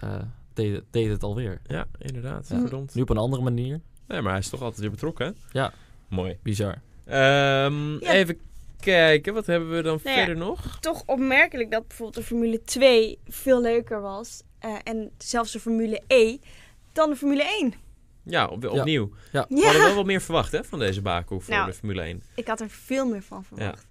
D: eh, deed, deed het alweer.
A: Ja, inderdaad.
D: Ja.
A: Verdomd.
D: Nu op een andere manier.
A: Nee, maar hij is toch altijd weer betrokken, hè?
D: Ja.
A: Mooi.
D: Bizar.
A: Ehm,
C: Ja.
A: Even kijken, wat hebben we dan
C: Nou ja.
A: verder nog?
C: Toch opmerkelijk dat bijvoorbeeld de Formule 2 veel leuker was. eh, en zelfs de Formule E dan de Formule 1.
A: Ja, op-
D: Ja.
A: opnieuw.
D: Ja.
A: We hadden
C: Ja,
A: wel wat meer verwacht, hè, van deze baken voor
C: Nou.
A: de Formule 1.
C: ik had er veel meer van verwacht.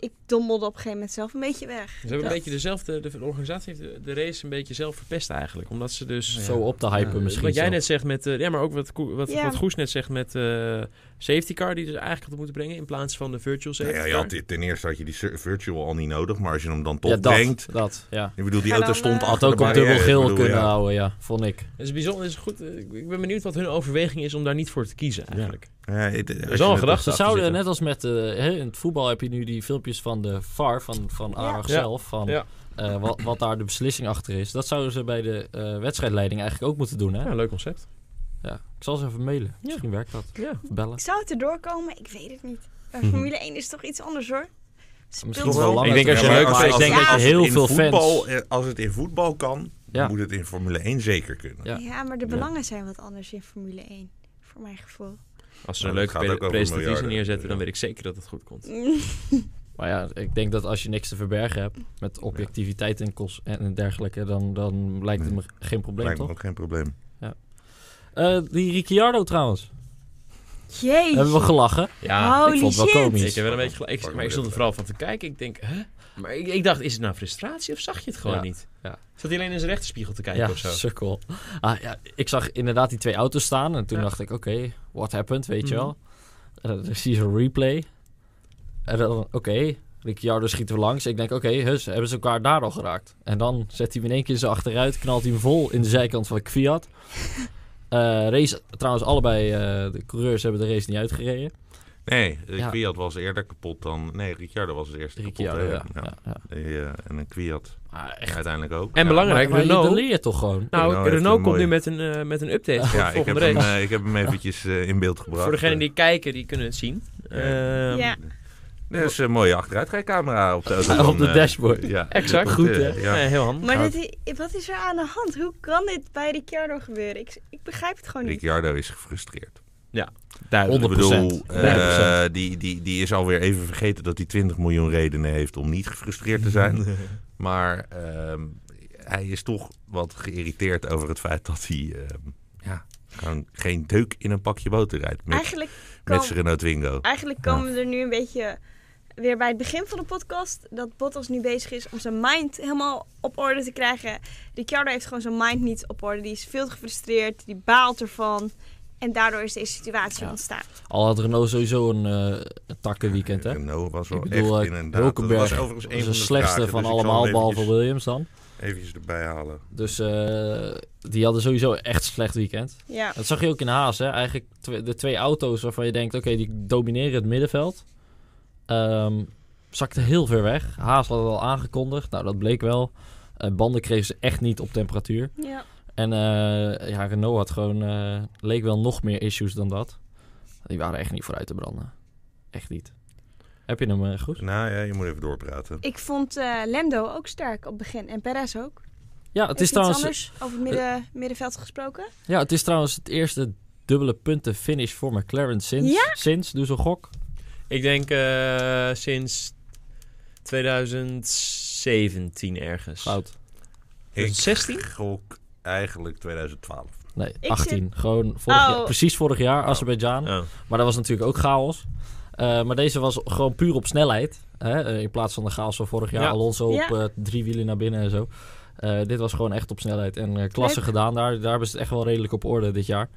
C: ik dommelde op een gegeven moment zelf een beetje weg.
A: Ze hebben een
C: Ja.
A: beetje dezelfde, de, de organisatie heeft de, de race een beetje zelf verpest eigenlijk. Omdat ze dus...
B: Ja.
D: Zo op te hypen
B: Ja,
D: misschien.
A: Wat jij
D: zo.
A: net zegt met, eh, ja, maar ook wat, Ko- wat,
C: Ja.
A: wat Goes net zegt met eh, safety car, die ze eigenlijk hadden moeten brengen in plaats van de virtual
B: Nou
A: safety
B: ja, je
A: car.
B: had dit- ten eerste had je die sur- virtual al niet nodig, maar als je hem dan toch
D: ja, dat,
B: brengt...
D: dat, ja.
B: Ik bedoel, die
C: Ga
B: auto
C: dan,
B: stond
C: eh,
D: Had
B: achter
D: ook
B: de
D: op dubbel
B: barrière.
D: geel
B: Ik bedoel,
D: kunnen
B: ja.
D: houden, ja, vond ik.
A: Het is bijzonder, het is goed. eh, Ik ik ben benieuwd wat hun overweging is om daar niet voor te kiezen eigenlijk.
B: Ja, het- als
A: al
B: je
A: een
B: het-
A: gedachte.
D: Ze
A: achter
D: zouden,
A: zitten.
D: net als met eh, hè, in het voetbal heb je nu die filmpjes van de VAR, van, van ARAG
A: Ja.
D: zelf, van
A: Ja.
D: eh, wat, wat daar de beslissing achter is. Dat zouden ze bij de eh, wedstrijdleiding eigenlijk ook moeten doen, hè?
A: Ja, leuk concept.
D: Ja. Ik zal ze even mailen. Misschien werkt dat.
A: Ja.
D: Of bellen.
C: Ik zou het erdoor komen, ik weet het niet. Bij
D: Mhm.
C: Formule 1 is toch iets anders hoor.
D: Misschien
B: wel.
D: wel
A: Ik
D: langer.
A: denk als je
D: terug,
A: leuk
D: maar
A: vindt,
D: ik denk
C: als-
D: dat je
B: als het
D: heel
B: in
D: veel
B: voetbal,
D: fans...
B: eh, Als het in voetbal kan,
D: Ja.
B: moet het in Formule 1 zeker kunnen.
D: Ja.
C: Ja. maar de
D: Ja.
C: belangen zijn wat anders in Formule 1, voor mijn gevoel.
A: Als ze een
B: Nou,
A: leuke
B: dat gaat ook
A: pre-
B: over
A: presentatie
B: miljarden.
A: neerzetten, dan weet ik zeker dat het goed komt.
D: Maar ja, ik denk dat als je niks te verbergen hebt met objectiviteit en, kost en dergelijke, dan, dan lijkt het me geen probleem,
B: Lijkt me
D: toch?
B: ook geen probleem.
D: Eh, die Ricciardo trouwens.
C: Jeetje.
D: Hebben we gelachen.
A: Ja,
C: Holy
D: ik vond het wel
C: shit.
D: komisch.
A: ik heb wel een beetje gelijk. Ik, maar ik stond er vooral van te kijken. Ik denk, hè? Maar ik, ik dacht, is het nou frustratie of zag je het gewoon
D: Ja,
A: niet?
D: ja.
A: Zat hij alleen in zijn rechterspiegel te kijken
D: Ja,
A: of zo?
D: sukkel. Ah, ja, ik zag inderdaad die twee auto's staan en toen
A: Ja.
D: dacht ik, oké, what happened, weet je
A: Mhm.
D: wel. En dan zie je zo'n replay. En dan, oké, Ricciardo schiet er langs. Ik denk, oké, hus, hebben ze elkaar daar al geraakt? En dan zet hij hem in één keer zo achteruit, knalt hij hem vol in de zijkant van Kviat. Eh race, trouwens, allebei eh, de coureurs hebben de race niet uitgereden.
B: Nee, een
D: Ja.
B: Kwiat was eerder kapot dan... Nee, Ricciardo was het eerste
D: Ricciardo,
B: kapot. hè?
D: ja. ja, ja.
B: Die, eh, en een Kwiat
D: Maar echt,
B: uiteindelijk ook.
A: En
B: Ja.
A: belangrijk,
D: maar, maar je
A: Renault.
D: leert toch gewoon.
A: Nou,
B: Renault heeft
A: Renault
B: een
A: komt
B: mooie-
A: nu met een, eh, met een update voor
B: Ja,
A: de
B: ik heb,
A: volgende
B: hem,
A: race.
B: eh, ik heb hem eventjes eh, in beeld gebracht.
A: voor degenen die kijken, die kunnen het zien.
B: Ja.
A: Ehm,
C: Ja.
B: Er is Eh, dus een mooie achteruitkijkcamera op de auto.
D: Op
B: van,
D: de
B: eh,
D: dashboard.
B: Ja,
A: Exact.
B: Dat,
D: Goed,
B: eh,
D: hè?
B: ja.
A: eh, heel handig.
C: Maar dit, i- wat is er aan de hand? Hoe kan dit bij Ricciardo gebeuren? Ik, ik begrijp het gewoon niet.
B: Ricciardo is gefrustreerd.
A: Duidelijk.
B: Ik bedoel,
D: 100%.
B: eh,
D: 100%.
B: die, die, die is alweer even vergeten dat hij 20 miljoen redenen heeft om niet gefrustreerd te zijn. Maar ehm, hij is toch wat geïrriteerd over het feit dat hij ehm, ja, gewoon geen deuk in een pakje boter rijdt. Met,
C: Eigenlijk,
B: met
C: kan-
B: zijn Renault Twingo.
C: eigenlijk komen we er nu een beetje weer bij het begin van de podcast. Dat Bottas nu bezig is om zijn mind helemaal op orde te krijgen. Ricciardo heeft gewoon zijn mind niet op orde. Die is veel te gefrustreerd. Die baalt ervan. En daardoor is deze situatie
D: Ja.
C: ontstaan.
D: Al had Renault sowieso een eh, takkenweekend, hè?
B: Renault was wel
D: Ik bedoel,
B: echt
D: eh,
B: inderdaad...
D: Hulkenberg
B: dat was overigens een
D: Dat is
B: van
D: de
B: de
D: slechtste
B: vragen,
D: van
B: dus ik zal hem
D: allemaal, behalve
B: eventjes-
D: Williams dan.
B: Eventjes erbij halen.
D: Dus eh, die hadden sowieso echt slecht weekend.
C: Ja.
D: Dat zag je ook in Haas, hè. Eigenlijk tw- de twee auto's waarvan je denkt, oké, die domineren het middenveld. Ehm zakte heel ver weg. Haas had het al aangekondigd. Nou, dat bleek wel. Eh, banden kregen ze echt niet op temperatuur.
C: ja.
D: En eh, ja, Renault had gewoon, eh, leek wel nog meer issues dan dat. Die waren echt niet vooruit te branden. Echt niet. Heb je hem eh, goed?
B: Nou ja, je moet even doorpraten.
C: Ik vond eh, Lando ook sterk op het begin. En Perez ook.
D: Ja, het
C: Even
D: is
C: iets
D: trouwens...
C: anders over het midden, middenveld gesproken.
D: Ja, het is trouwens het eerste dubbele punten finish voor McLaren sinds.
C: Ja?
D: Sinds, doe zo'n gok.
A: Ik denk eh, sinds 2017 ergens.
D: Fout.
B: Ik Oh.
A: 16?
B: gok eigenlijk 2012.
D: Nee,
C: Ik
D: 18. Gewoon vorig
C: Oh.
D: jaar, precies vorig jaar, Azerbeidzjan.
A: Oh.
D: Maar dat was natuurlijk ook chaos. Eh, maar deze was gewoon puur op snelheid. Hè? eh, In plaats van de chaos van vorig jaar.
A: Ja.
D: Alonso
C: Ja.
D: op eh, drie wielen naar binnen en zo. Eh, dit was gewoon echt op snelheid. En eh klasse
C: Leuk.
D: gedaan daar. Daar hebben ze het echt wel redelijk op orde dit jaar.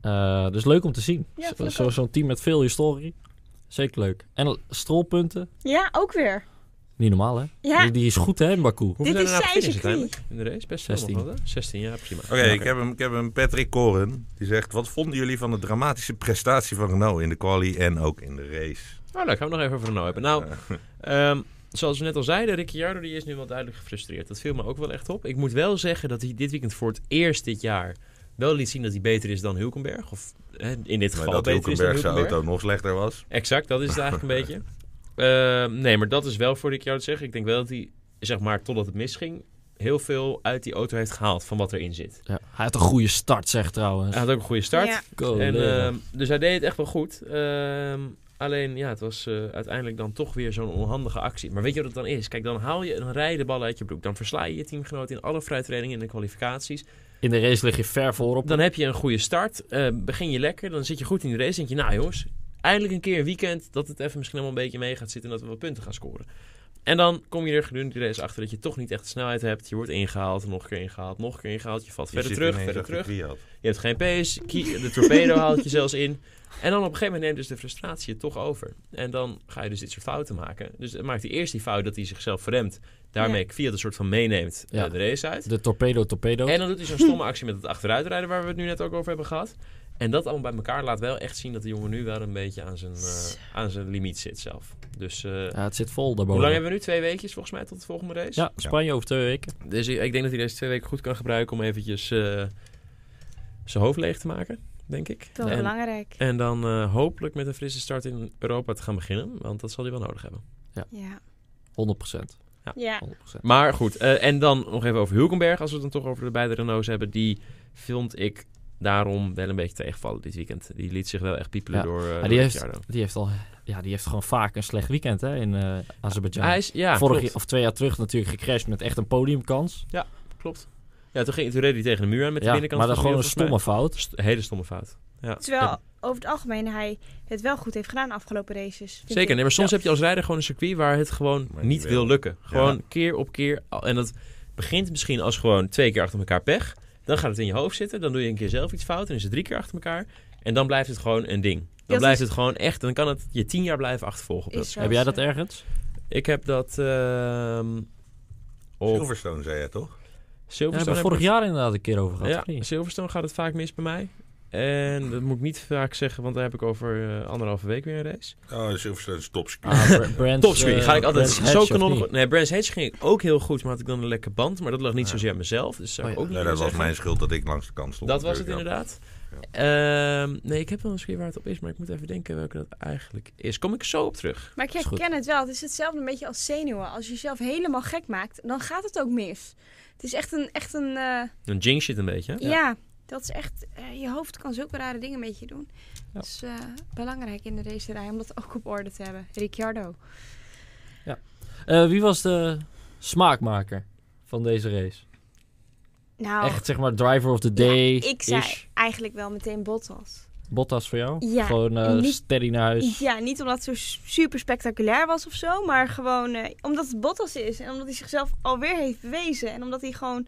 D: Eh, dus leuk om te zien.
C: Ja, vind
D: Zo-
C: ik
D: Zo'n
C: ook.
D: team met veel historie. Zeker leuk. En strolpunten.
C: Ja, ook weer.
D: Niet normaal, hè?
C: Ja.
D: Die, die is goed, hè, in Baku.
A: Hoeveel
C: Dit
A: zijn er
C: is
A: nou
C: zijn
A: gefinished
C: circuit.
A: uiteindelijk in de race? Best veel
D: 16.
A: nog wel, hè? 16, ja, prima.
B: Oké, ik, heb hem- ik heb hem Patrick Koren. Die zegt, wat vonden jullie van de dramatische prestatie van Renault in de quali en ook in de race?
A: Oh, leuk. Gaan we nog even over Renault hebben. Nou,
B: Eh,
A: ehm, zoals we net al zeiden, Ricciardo die is nu wel duidelijk gefrustreerd. Dat viel me ook wel echt op. Ik moet wel zeggen dat hij dit weekend voor het eerst dit jaar wel liet zien dat hij beter is dan Hulkenberg. Of hè, in dit
B: maar
A: geval
B: dat
A: beter is dan
B: Hulkenberg zijn
A: Hulkenberg.
B: auto nog slechter was.
A: Exact, dat is het eigenlijk een beetje. Ehm, nee, maar dat is wel voor Ricciardo te zeggen. Ik denk wel dat hij, zeg maar, totdat het misging, heel veel uit die auto heeft gehaald van wat erin zit.
D: Ja, hij had een goede start, zeg trouwens.
A: Hij had ook een goede start.
C: Ja.
B: Oh,
D: Go,
A: En,
D: Leo.
A: ehm, dus hij deed het echt wel goed. Ehm, alleen, ja, het was eh, uiteindelijk dan toch weer zo'n onhandige actie. Maar weet je wat het dan is? Kijk, dan haal je een rij de bal uit je broek. Dan versla je je teamgenoot in alle vrijtrainingen en de kwalificaties.
D: in de race lig je ver voorop.
A: Dan heb je een goede start. eh, begin je lekker. Dan zit je goed in de race. denk je, nou jongens, eindelijk een keer een weekend dat het even misschien allemaal een beetje mee gaat zitten en dat we wat punten gaan scoren. En dan kom je er gedurende de race achter dat je toch niet echt de snelheid hebt. Je wordt ingehaald, nog een keer ingehaald, nog een keer ingehaald. Je valt
B: Je
A: verder
B: zit
A: terug,
B: ineens
A: verder
B: achter de
A: terug.
B: Kwiat.
A: Je hebt geen pace, ki- de torpedo haalt je zelfs in. En dan op een gegeven moment neemt dus de frustratie het toch over. En dan ga je dus dit soort fouten maken. Dus het maakt hij eerst die fout dat hij zichzelf verremt. Daarmee via een soort van meeneemt eh,
D: Ja.
A: de race uit.
D: De torpedo, torpedo.
A: En dan doet hij zo'n stomme actie met het achteruitrijden waar we het nu net ook over hebben gehad. En dat allemaal bij elkaar laat wel echt zien dat de jongen nu wel een beetje aan zijn, eh, aan zijn limiet zit zelf. Dus eh,
D: Ja, het zit vol daarboven.
A: hoe lang hebben we nu? Twee weekjes volgens mij tot de volgende race?
D: Ja, Spanje over twee weken.
A: Dus ik, ik denk dat hij deze twee weken goed kan gebruiken om eventjes eh, zijn hoofd leeg te maken, denk ik.
C: Toch
A: En-
C: belangrijk.
A: En dan eh, hopelijk met een frisse start in Europa te gaan beginnen. Want dat zal hij wel nodig hebben.
C: Ja.
D: 100%.
C: Ja.
D: 100%.
A: Maar goed, eh, en dan nog even over Hulkenberg. Als we het dan toch over de beide Renaults hebben. Die vond ik daarom wel een beetje tegenvallen dit weekend. Die liet zich wel echt piepelen
D: Ja.
A: door, eh,
D: Maar
A: door
D: die heeft,
A: Ricciardo.
D: die heeft al... Ja, die heeft gewoon vaak een slecht weekend hè, in eh Azerbeidzjan.
A: Hij is, ja,
D: Vorig
A: klopt,
D: jaar, of twee jaar terug natuurlijk gecrashed met echt een podiumkans.
A: klopt. Ja, toen, ging, toen reed hij tegen de muur aan met
D: Ja,
A: de binnenkant.
D: maar dan
A: van
D: gewoon
A: de
D: een
A: muur, volgens
D: stomme fout.
A: mij. St- hele stomme fout. Ja.
C: Terwijl over het algemeen hij het wel goed heeft gedaan de afgelopen races. vind
A: Zeker,
C: ik.
A: nee, maar soms heb je als rijder gewoon een circuit waar het gewoon
B: Maar niet
A: niet wil
B: wil.
A: lukken. Gewoon keer op keer. al- En dat begint misschien als gewoon twee keer achter elkaar pech. Dan gaat het in je hoofd zitten. Dan doe je een keer zelf iets fout. Dan is het drie keer achter elkaar. En dan blijft het gewoon een ding. Dan
C: Dat
A: blijft
C: is-
A: het gewoon echt. Dan kan het je tien jaar blijven achtervolgen. Op dat.
C: Is zo.
D: Heb jij dat ergens?
A: Ik heb dat ehm op
B: Silverstone zei jij toch?
D: Ja, daar
A: Silverstone.
D: hebben we
A: heb
D: vorig
A: ik-
D: jaar inderdaad een keer over gehad. of
A: Ja,
D: niet?
A: Silverstone gaat het vaak mis bij mij. En dat moet ik niet vaak zeggen, want daar heb ik over eh, anderhalve week weer een race.
B: Oh, Silverstone is topscreen.
D: Ah, Br- Brands,
A: Topspeed.
D: eh,
A: ga ik altijd
D: Brands
A: zo
D: Hatch of
A: kanon.
D: niet?
A: Nee, Brands Hedge ging ik ook heel goed, maar had ik dan een lekke band. Maar dat lag niet
B: Ja.
A: zozeer aan mezelf. Dus zou ik
D: Oh ja.
A: ook niet
B: nee, dat
A: kunnen zeggen.
B: was mijn schuld dat ik langs de kant stond.
A: Dat was het
B: natuurlijk,
A: inderdaad. Ehm, nee, ik heb wel een sfeer waar het op is, maar ik moet even denken welke dat eigenlijk is. Kom ik zo op terug.
C: Maar ik
D: Is goed.
C: herken het wel. Het is hetzelfde een beetje als zenuwen. Als je jezelf helemaal gek maakt, dan gaat het ook mis. Het is echt een... Echt een eh,
A: Dan jinx je het een beetje. hè?
C: ja. dat is echt... eh, je hoofd kan zulke rare dingen met je doen. Dat is eh, belangrijk in de racerij om dat ook op orde te hebben. Ricciardo.
D: Eh, wie was de smaakmaker van deze race?
C: Nou,
D: Echt zeg maar driver of the day.
C: ja, ik zei
D: ish.
C: eigenlijk wel meteen Bottas.
D: Bottas voor jou?
C: Ja,
D: Gewoon eh,
C: niet-
D: steady naar huis.
C: Ja, niet omdat het zo s- super spectaculair was of zo, maar gewoon eh, omdat het Bottas is en omdat hij zichzelf alweer heeft bewezen en omdat hij gewoon.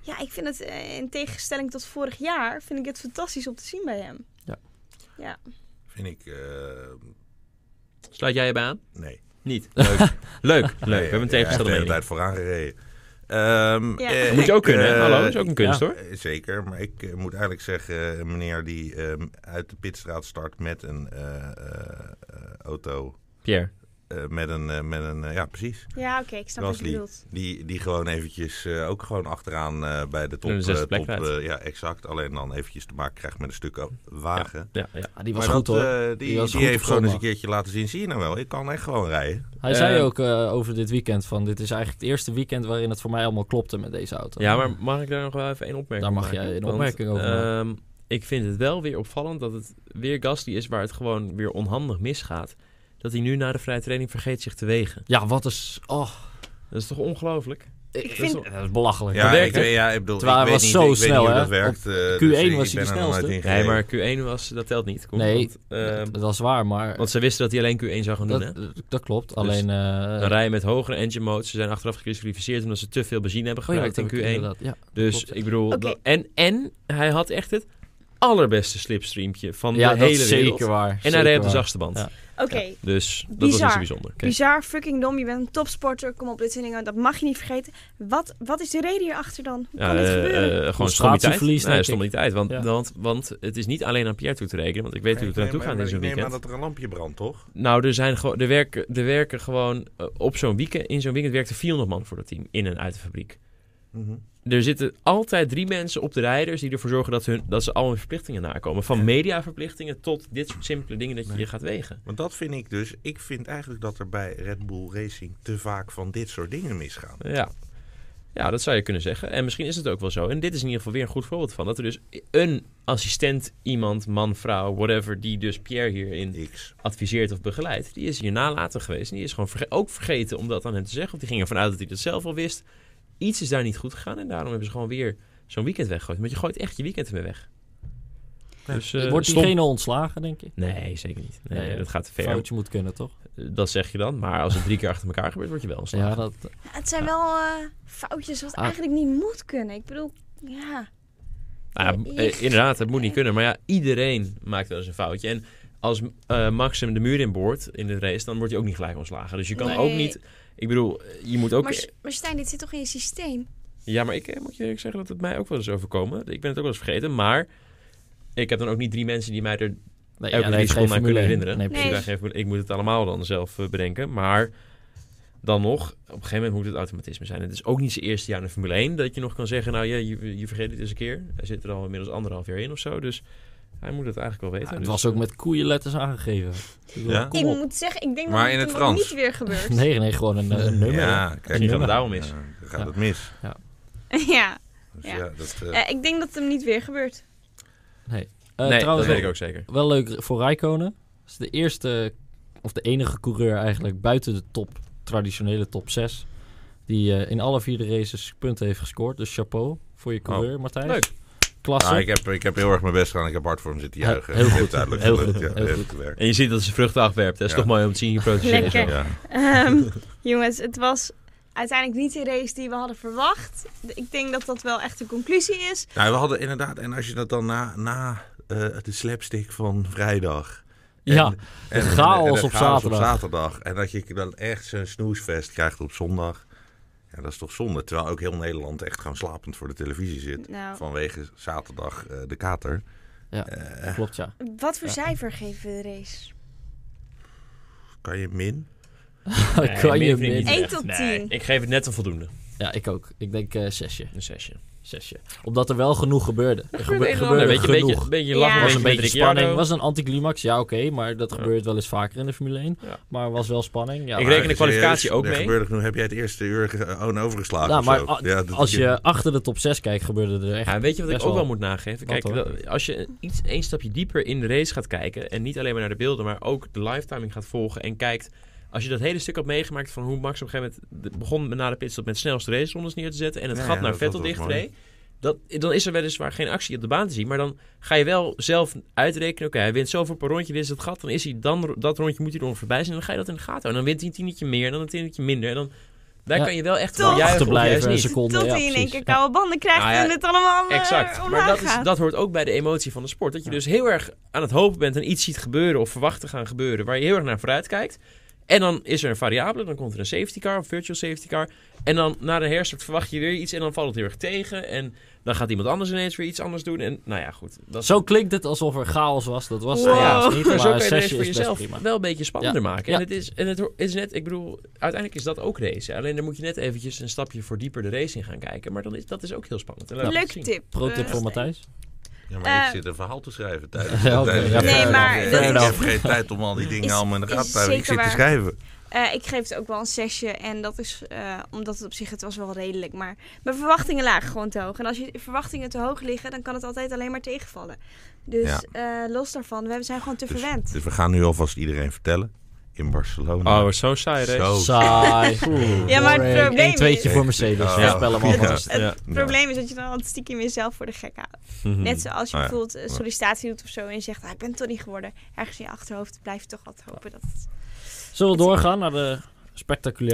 C: Ja, ik vind het eh, in tegenstelling tot vorig jaar, vind ik het fantastisch om te zien bij hem.
B: ja. Vind ik... eh,
A: Sluit jij je bij aan?
B: nee.
A: Niet.
B: Leuk.
A: Leuk, leuk. We hebben een
B: Echt de
A: tegenstander.
B: hele tijd vooraan gereden. Ehm,
C: Ja.
B: eh,
C: Dat
A: Moet je ook
B: ik,
A: kunnen, hè?
B: eh,
A: Hallo, is ook een kunst
D: ja.
A: hoor.
B: eh, Zeker, maar ik eh, moet eigenlijk zeggen, eh, een meneer die ehm, uit de pitstraat start met een eh, eh, eh, auto,
A: Pierre.
B: eh, met een, eh, met een eh, ja precies,
C: Ja, oké, ik snap wat je
B: Gasly.
C: bedoelt.
B: die, die gewoon eventjes eh, ook gewoon achteraan eh, bij de top,
A: En de zesde
B: eh,
A: plek
B: top,
A: rijdt.
B: eh, ja exact, alleen dan eventjes te maken krijgt met een stuk o- wagen.
A: Ja, ja.
D: Ah, die was
B: Maar
D: goed
B: dat,
D: hoor.
B: eh, die
D: was
B: die
D: goed op
B: heeft gewoon eens een
D: zondag.
B: keertje laten zien, zie je nou wel, ik kan echt gewoon rijden.
D: Hij
A: Eh,
D: zei ook eh, over dit weekend van dit is eigenlijk het eerste weekend waarin het voor mij allemaal klopte met deze auto.
A: Ja, maar mag ik daar nog wel even één opmerking
D: Daar mag
A: maken?
D: jij een
A: Want,
D: opmerking over maken.
A: ehm, ik vind het wel weer opvallend dat het weer Gasly is waar het gewoon weer onhandig misgaat. Dat hij nu na de vrije training vergeet zich te wegen.
D: Ja, wat is... Oh,
A: Dat is toch ongelooflijk?
D: ik
A: vind-
D: vind... Dat is belachelijk.
B: Ja,
A: werkt,
B: ik,
A: hè?
B: weet- ja, ik bedoel,
D: Terwijl
B: ik
D: hij
B: weet
D: was
B: niet,
D: zo
B: ik weet
D: snel,
B: niet
D: hè?
B: hoe dat werkt. eh,
D: Q1
B: dus ik-
D: was
B: ik
D: hij
B: ben
D: de
B: er nog nooit
D: snelste.
B: in
A: Nee,
B: gereden.
A: maar Q1 was, dat telt niet. Kom,
D: Nee.
A: want, ehm,
D: Dat is waar, maar...
A: want ze wisten dat hij alleen Q1 zou gaan doen, hè? Dus
D: dat, dat klopt. Alleen... eh,
A: Dan rijden met hogere engine modes. Ze zijn achteraf geclassificeerd omdat ze te veel benzine hebben
D: oh ja, dat
A: gebruikt
D: heb ik
A: in Q1.
D: inderdaad. Ja,
A: Dus
D: klopt.
A: ik bedoel...
C: Oké.
A: dat- en, en hij had echt het allerbeste slipstreampje van
D: ja
A: de
D: dat
A: hele
D: is
A: wereld.
D: zeker waar.
A: En hij reed op de zachtste band.
D: Ja.
C: Oké,
A: Dus dat was
C: Bizar.
A: niet zo bijzonder.
C: bizar, fucking dom. Je bent een topsporter, kom op, dit soort dingen, dat mag je niet vergeten. Wat, wat is de reden hierachter dan? Hoe
A: Ja,
C: kan dit
A: eh,
C: gebeuren?
A: eh, gewoon stommiteit.
D: Concentratieverlies,
A: Nee,
D: denk
A: stommiteit. Want,
D: Ja.
A: want, want het is niet alleen aan Pierre toe te rekenen. Want ik weet hoe het er
B: Nee,
A: naartoe
B: maar-
A: gaat in
B: maar
A: zo'n
B: ik neem
A: weekend.
B: aan dat er een lampje brandt, toch?
A: Nou, er, zijn gewoon, er, werken, er werken gewoon eh, op zo'n weekend, in zo'n weekend werkte 400 man voor dat team in en uit de fabriek.
B: Mhm.
A: Er zitten altijd drie mensen op de rijders die ervoor zorgen dat, hun, dat ze al hun verplichtingen nakomen. Van mediaverplichtingen tot dit soort simpele dingen dat je
B: Nee.
A: je gaat wegen.
B: Want dat vind ik dus. Ik vind eigenlijk dat er bij Red Bull Racing te vaak van dit soort dingen misgaan.
A: Ja. ja, dat zou je kunnen zeggen. En misschien is het ook wel zo. En dit is in ieder geval weer een goed voorbeeld van. Dat er dus een assistent, iemand, man, vrouw, whatever, die dus Pierre hierin
B: X.
A: adviseert of begeleidt, die is hier nalaten geweest. En die is gewoon verge- ook vergeten om dat aan hem te zeggen. Of die ging ervan uit dat hij dat zelf al wist. Iets is daar niet goed gegaan en daarom hebben ze gewoon weer zo'n weekend weggegooid. Want je gooit echt je weekend ermee weg. Dus, eh,
D: Wordt
A: stom-
D: diegene ontslagen, denk je?
A: Nee, zeker niet. Nee,
D: Nee,
A: dat gaat te ver.
D: Foutje moet kunnen, toch?
A: Dat zeg je dan. Maar als het drie keer achter elkaar gebeurt, word je wel ontslagen.
D: Ja, dat,
C: Het zijn wel eh, foutjes wat
D: Ah.
C: eigenlijk niet moet kunnen. Ik bedoel, ja.
A: Nou, ja, eh, inderdaad, dat moet niet kunnen. Maar ja, iedereen maakt wel eens een foutje. En als eh, Max hem de muur in boort in de race, dan wordt hij ook niet gelijk ontslagen. Dus je kan
C: Nee.
A: ook niet... Ik bedoel, je moet ook...
C: Maar, S- maar Stijn, dit zit toch in je systeem?
A: Ja, maar ik eh, moet je eerlijk zeggen dat het mij ook wel eens overkomen. Ik ben het ook wel eens vergeten, maar... Ik heb dan ook niet drie mensen die mij er
D: nee,
A: elke drie
D: dat heeft geen
A: seconden aan
D: Formule
A: kunnen
D: 1.
A: herinneren.
D: Nee,
A: Dus ik
D: precies.
A: dacht even, ik moet het allemaal dan zelf eh, bedenken. Maar dan nog, op een gegeven moment moet het automatisme zijn. Het is ook niet zijn eerste jaar in de Formule 1 dat je nog kan zeggen... nou ja, je, je vergeet het eens een keer. Hij zit er al inmiddels anderhalf jaar in of zo. Dus hij moet het eigenlijk wel
D: Ja,
A: weten.
D: het
A: Dus-
D: was ook met koeienletters aangegeven. Ik bedoel,
B: Ja?
C: ik
D: Kom op.
C: moet zeggen, ik denk
B: Maar
C: dat
B: in
C: het,
B: het
C: hem ook
B: Frans.
C: niet weer gebeurt.
D: Nee, nee, gewoon een, eh, een nummer.
B: Ja, kijk,
A: Misschien gaat het daarom mis.
B: Ja, dan eh, gaat
D: Ja.
B: het mis.
C: ja,
B: Dus
C: Ja.
B: ja, dat, eh,
C: Eh, ik denk dat het hem niet weer gebeurt.
D: Eh,
A: nee,
D: trouwens,
A: dat weet ik ook zeker.
D: wel leuk voor Rijkonen. Dat is de eerste, of de enige coureur eigenlijk buiten de top, traditionele top 6. Die eh, in alle vier de races punten heeft gescoord. Dus chapeau voor je coureur, Martijn.
A: Leuk.
D: Klasse.
B: Oh. ah, ik, heb, ik heb heel erg mijn best gedaan. Ik heb hard voor hem zitten
D: Heel-
B: juichen.
D: heel
B: Het heeft
D: goed.
B: duidelijk
D: Heel
B: gelukt,
D: goed.
B: ja,
D: Heel
B: heeft
D: goed.
B: gewerkt.
A: En je ziet dat ze vruchten afwerpt. Dat is
B: Ja.
A: toch mooi om te zien geproduceerd.
C: Lekker.
A: zo.
B: Ja.
C: Ehm, jongens, het was uiteindelijk niet de race die we hadden verwacht. Ik denk dat dat wel echt de conclusie is.
B: Nou, we hadden inderdaad, en als je dat dan na, na eh, de slapstick van vrijdag. en-
D: ja,
B: en-
D: chaos op
B: op
D: zaterdag.
B: zaterdag. En dat je dan echt zo'n snoesfest krijgt op zondag. Ja, dat is toch zonde. Terwijl ook heel Nederland echt gewoon slapend voor de televisie zit.
C: Nou,
B: Vanwege zaterdag eh, de kater.
D: Ja.
B: Eh,
D: klopt ja.
C: wat voor
D: Ja.
C: cijfer geven we de race?
B: kan je min?
A: Nee,
D: kan je
A: meer vind ik niet
D: min.
C: Eén
A: echt.
C: tot
A: Nee,
C: tien.
A: Ik geef het net een voldoende.
D: Ja, ik ook. Ik denk eh, zesje.
A: Een zesje.
D: Zesje. Omdat er wel genoeg gebeurde. Er gebe-
A: Nou, Een
D: gebeurde
A: beetje,
D: genoeg.
A: beetje, beetje lachen,
C: Ja.
D: was een
A: met
D: beetje
A: Ricciardo.
D: spanning. was een anticlimax. Ja, oké. maar dat
A: Ja.
D: gebeurt wel eens vaker in de Formule 1.
A: Ja.
D: Maar was wel spanning. Ja,
A: Ik
D: maar-
A: reken de kwalificatie ook
B: er
A: mee.
B: Gebeurde genoeg, heb jij het eerste uur ge- eh, oh, overgeslagen?
D: Nou,
B: of
D: maar
B: zo.
D: a-
B: Ja, dat-
D: als je achter de top 6 kijkt, gebeurde er echt...
A: Ja, weet je wat ik
D: Best
A: ook wel
D: wel.
A: moet nageven?
D: Wat
A: Kijk,
D: hoor.
A: wel, als je iets één stapje dieper in de race gaat kijken... en niet alleen maar naar de beelden, maar ook de lifetiming gaat volgen... en kijkt, als je dat hele stuk had meegemaakt... van hoe Max op een gegeven moment de- begon na de pitstop... met snelste racerondes neer te zetten... en het
B: Ja,
A: gat
B: ja,
A: naar
B: dat was
A: Vettel
B: wel
A: dicht
B: mooi.
A: reed... Dat, dan is er weliswaar geen actie op de baan te zien... maar dan ga je wel zelf uitrekenen... oké, hij wint zoveel per rondje, dit is het gat... dan is hij dan, ro- dat rondje moet hij er voorbij zijn... en dan ga je dat in de gaten houden. En dan wint hij een tienetje meer en dan een tienetje minder... en dan... Daar
D: Ja.
A: kan je wel echt
C: Toch?
A: van juichen of
D: Achterblijven
A: juist
D: en
A: niet.
D: ze Seconde,
C: Tot
D: ja,
C: hij in één
D: precies.
C: keer
D: Ja.
C: koude banden krijgt
A: Nou ja,
C: en het allemaal eh,
A: Exact. Maar
C: omlaag
A: dat, is,
C: gaat.
A: dat hoort ook bij de emotie van de sport. Dat je dus heel erg aan het hopen bent en iets ziet gebeuren of verwacht te gaan gebeuren. Waar je heel erg naar vooruit kijkt. En dan is er een variabele. Dan komt er een safety car of virtual safety car. En dan na de herstart verwacht je weer iets. En dan valt het heel erg tegen. En dan gaat iemand anders ineens weer iets anders doen. En nou ja, goed. Dat is
D: Zo klinkt het alsof er chaos was. Dat was
C: Wow.
D: er helaas niet,
A: maar zo
D: maar
A: kan
D: een
A: je het
D: zesje
A: voor
D: is best
A: jezelf
D: prima.
A: wel een beetje spannender maken. En,
D: Ja.
A: het is, en het ho- is net, ik bedoel, uiteindelijk is dat ook race. Alleen dan moet je net eventjes een stapje voor dieper de race in gaan kijken. Maar dan is, dat is ook heel spannend. En leuk om te
C: Leuke
A: zien.
C: tip.
D: Pro-tip
C: Eh,
D: voor Matthijs.
B: Ja, maar
C: Eh,
B: ik zit een verhaal te schrijven tijdens.
D: Ja, oké,
B: tijdens-
D: ja, Nee, fair
C: maar
B: Ik
C: dat
B: heb- ik
D: is-
B: heb geen tijd om al die dingen
C: Is-
B: allemaal in de
C: is
B: gaten te houden. Ik zit
C: zeker
B: te
C: waar.
B: schrijven.
C: Eh, ik geef het ook wel een zesje. En dat is eh, omdat het op zich, het was wel redelijk. Maar mijn verwachtingen lagen gewoon te hoog. En als je verwachtingen te hoog liggen, dan kan het altijd alleen maar tegenvallen. Dus eh, los daarvan, we zijn gewoon te
B: Dus,
C: verwend.
B: dus we gaan nu alvast iedereen vertellen. In Barcelona.
A: Oh, zo saai race.
B: Zo.
D: Saai.
C: Ja, maar het
D: Boring.
C: probleem
D: Eén tweetje
B: is-
D: voor
B: Ja.
D: Mercedes. Voorspel hem
B: Ja.
D: alvast.
C: Het
A: Ja.
B: Nou.
C: probleem is dat je dan altijd stiekem jezelf voor de gek houdt. Net zoals je
B: Ah, ja.
C: bijvoorbeeld een sollicitatie doet of zo. En je zegt, ah, ik ben het toch niet geworden. Ergens in je achterhoofd blijf je toch altijd hopen dat het...
D: Zullen we doorgaan naar de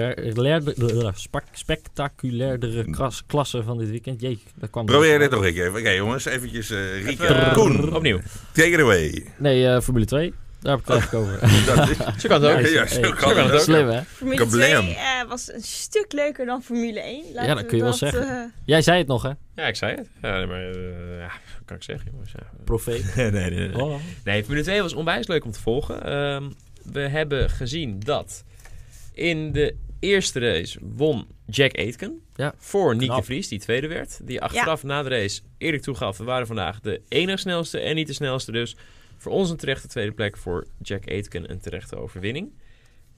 D: spectaculair, spek- spectaculairdere kras- klasse van dit weekend? Jee, daar kwam
B: Probeer dit nog een keer. Oké, jongens, eventjes eh Rieke.
A: Even,
B: Koen,
A: Opnieuw.
B: take it away.
D: Nee, eh, Formule 2. Daar heb ik het eigenlijk over.
B: Dat is,
A: Zo kan het ook.
B: ja,
D: Nice.
B: ja,
D: Hey,
B: zo kan het ook.
D: Slim, hè?
C: Formule
B: Kablam.
C: 2 eh, was een stuk leuker dan Formule 1. Laten
D: Ja, dat kun je
C: we
D: wel zeggen.
C: eh,
D: Jij zei het nog, hè?
A: Ja, ik zei het. Ja, nee, maar eh, ja, wat kan ik zeggen, jongens. Ja.
D: Profeet.
A: nee, nee, nee, nee.
D: Oh.
A: Nee, Formule 2 was onwijs leuk om te volgen. Ehm, we hebben gezien dat in de eerste race won Jack Aitken
D: Ja,
A: voor Nieke
D: knap.
A: Vries, die tweede werd. Die achteraf na de race eerlijk toegaf, we waren vandaag de enige snelste en niet de snelste. Dus voor ons een terechte tweede plek, voor Jack Aitken een terechte overwinning. Op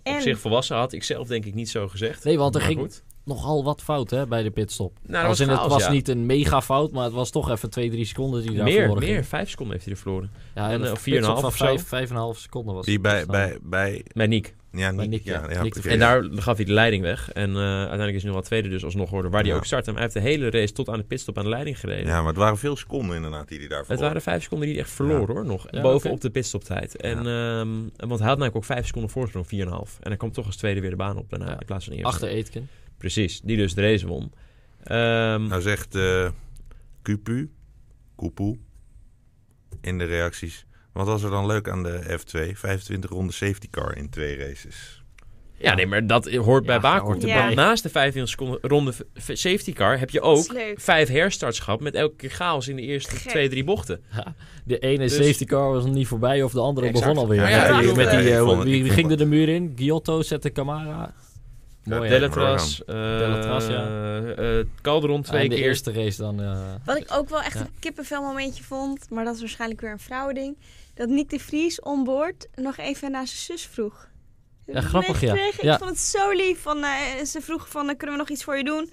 C: en
A: zich volwassen had ik zelf denk ik niet zo gezegd.
D: Nee, want er
A: Maar
D: ging
A: goed.
D: nogal wat fout hè, bij de pitstop.
A: Nou, dat
D: Als
A: was
D: in, het
A: chaos,
D: was
A: ja.
D: niet een mega fout, maar het was toch even 2, 3 seconden die daar
A: Meer,
D: verloren
A: meer.
D: gingen.
A: Vijf seconden heeft hij er verloren. En,
D: Ja, de
A: eh,
D: pitstop
A: 4,5
D: van
A: of zo.
D: 5, 5,5 seconden was
B: Die
D: eh, het
B: bij,
D: totaal.
B: bij, bij
A: Met Niek.
B: Ja,
D: Maar
B: niet,
D: Nick,
B: ja,
D: ja.
B: ja,
D: Nick de
A: En
B: precies.
A: daar gaf hij de leiding weg. En eh, uiteindelijk is hij nog wel tweede dus alsnog geworden. Waar hij
B: Ja.
A: ook startte. Maar hij heeft de hele race tot aan de pitstop aan de leiding gereden.
B: ja, maar het waren veel seconden inderdaad die hij daar
A: Het
B: verloor.
A: waren vijf seconden die hij echt verloor hoor, nog.
D: Ja,
A: bovenop
D: oké.
A: de pitstoptijd. En, ehm, want hij had namelijk ook vijf seconden voorsprong, 4,5. En hij kwam toch als tweede weer de baan op daarna,
D: Ja.
A: in plaats van eerst.
D: Achter Aitken.
A: Precies, die dus de race won. Ehm,
B: Nou zegt eh Cupu, Cupu in de reacties. Wat was er dan leuk aan de F2? 25 ronden safety car in twee races.
A: ja, nee, maar dat hoort bij
D: Ja,
A: Baku.
D: hoort
A: Want
C: erbij.
A: Naast de 25 seconden ronde v- v- safety car heb je
C: Dat is
A: ook
C: leuk.
A: vijf herstarts gehad met elke keer chaos in de eerste
C: Gek.
A: twee, drie bochten.
D: De ene
A: Dus-
D: safety car was nog niet voorbij of de andere
A: Exact.
D: begon alweer.
B: Ja,
A: ja,
D: met die,
A: ja,
D: met die,
B: ja, ik
D: eh,
B: vond het-
D: wie
B: ik vond
D: ging er
B: het-
D: de muur in? Giotto zette Camara. Mooi, hè?
B: Della-
A: Delatras, eh
D: Delatras, ja.
A: eh, Calderon
D: Ah,
A: twee
D: en de
A: keer.
D: eerste race dan. eh,
C: Wat ik ook wel echt
D: Ja.
C: een kippenvelmomentje vond, maar dat is waarschijnlijk weer een vrouwending. Dat Nick de Vries onboord nog even naar zijn zus vroeg. Heb je dat
D: grappig, ja.
C: meegekregen?
D: Ja.
C: Ik vond het zo lief. Van, eh, ze vroeg van, eh, kunnen we nog iets voor je doen?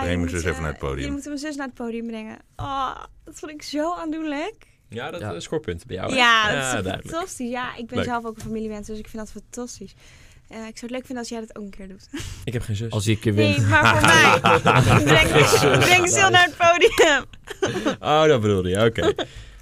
B: Breng
C: je
B: mijn
C: moet,
B: zus
C: eh,
B: even naar het podium.
C: Je moet mijn zus naar het podium brengen. Oh, dat vond ik zo aandoenlijk.
A: Ja, dat
D: Ja.
A: eh, scorepunt bij
D: Oh,
A: jou. hè?
C: ja, dat is toch
A: duidelijk.
C: fantastisch. Ja, ik ben
A: Leuk.
C: zelf ook een familiemens, dus ik vind dat fantastisch. Eh, ik zou het leuk vinden als jij dat ook een keer doet.
A: Ik heb geen zus.
D: Als eh, hij een keer wint.
C: Nee, maar voor mij. Breng, breng Sil naar het podium.
A: Oh, dat bedoelde je. Oké.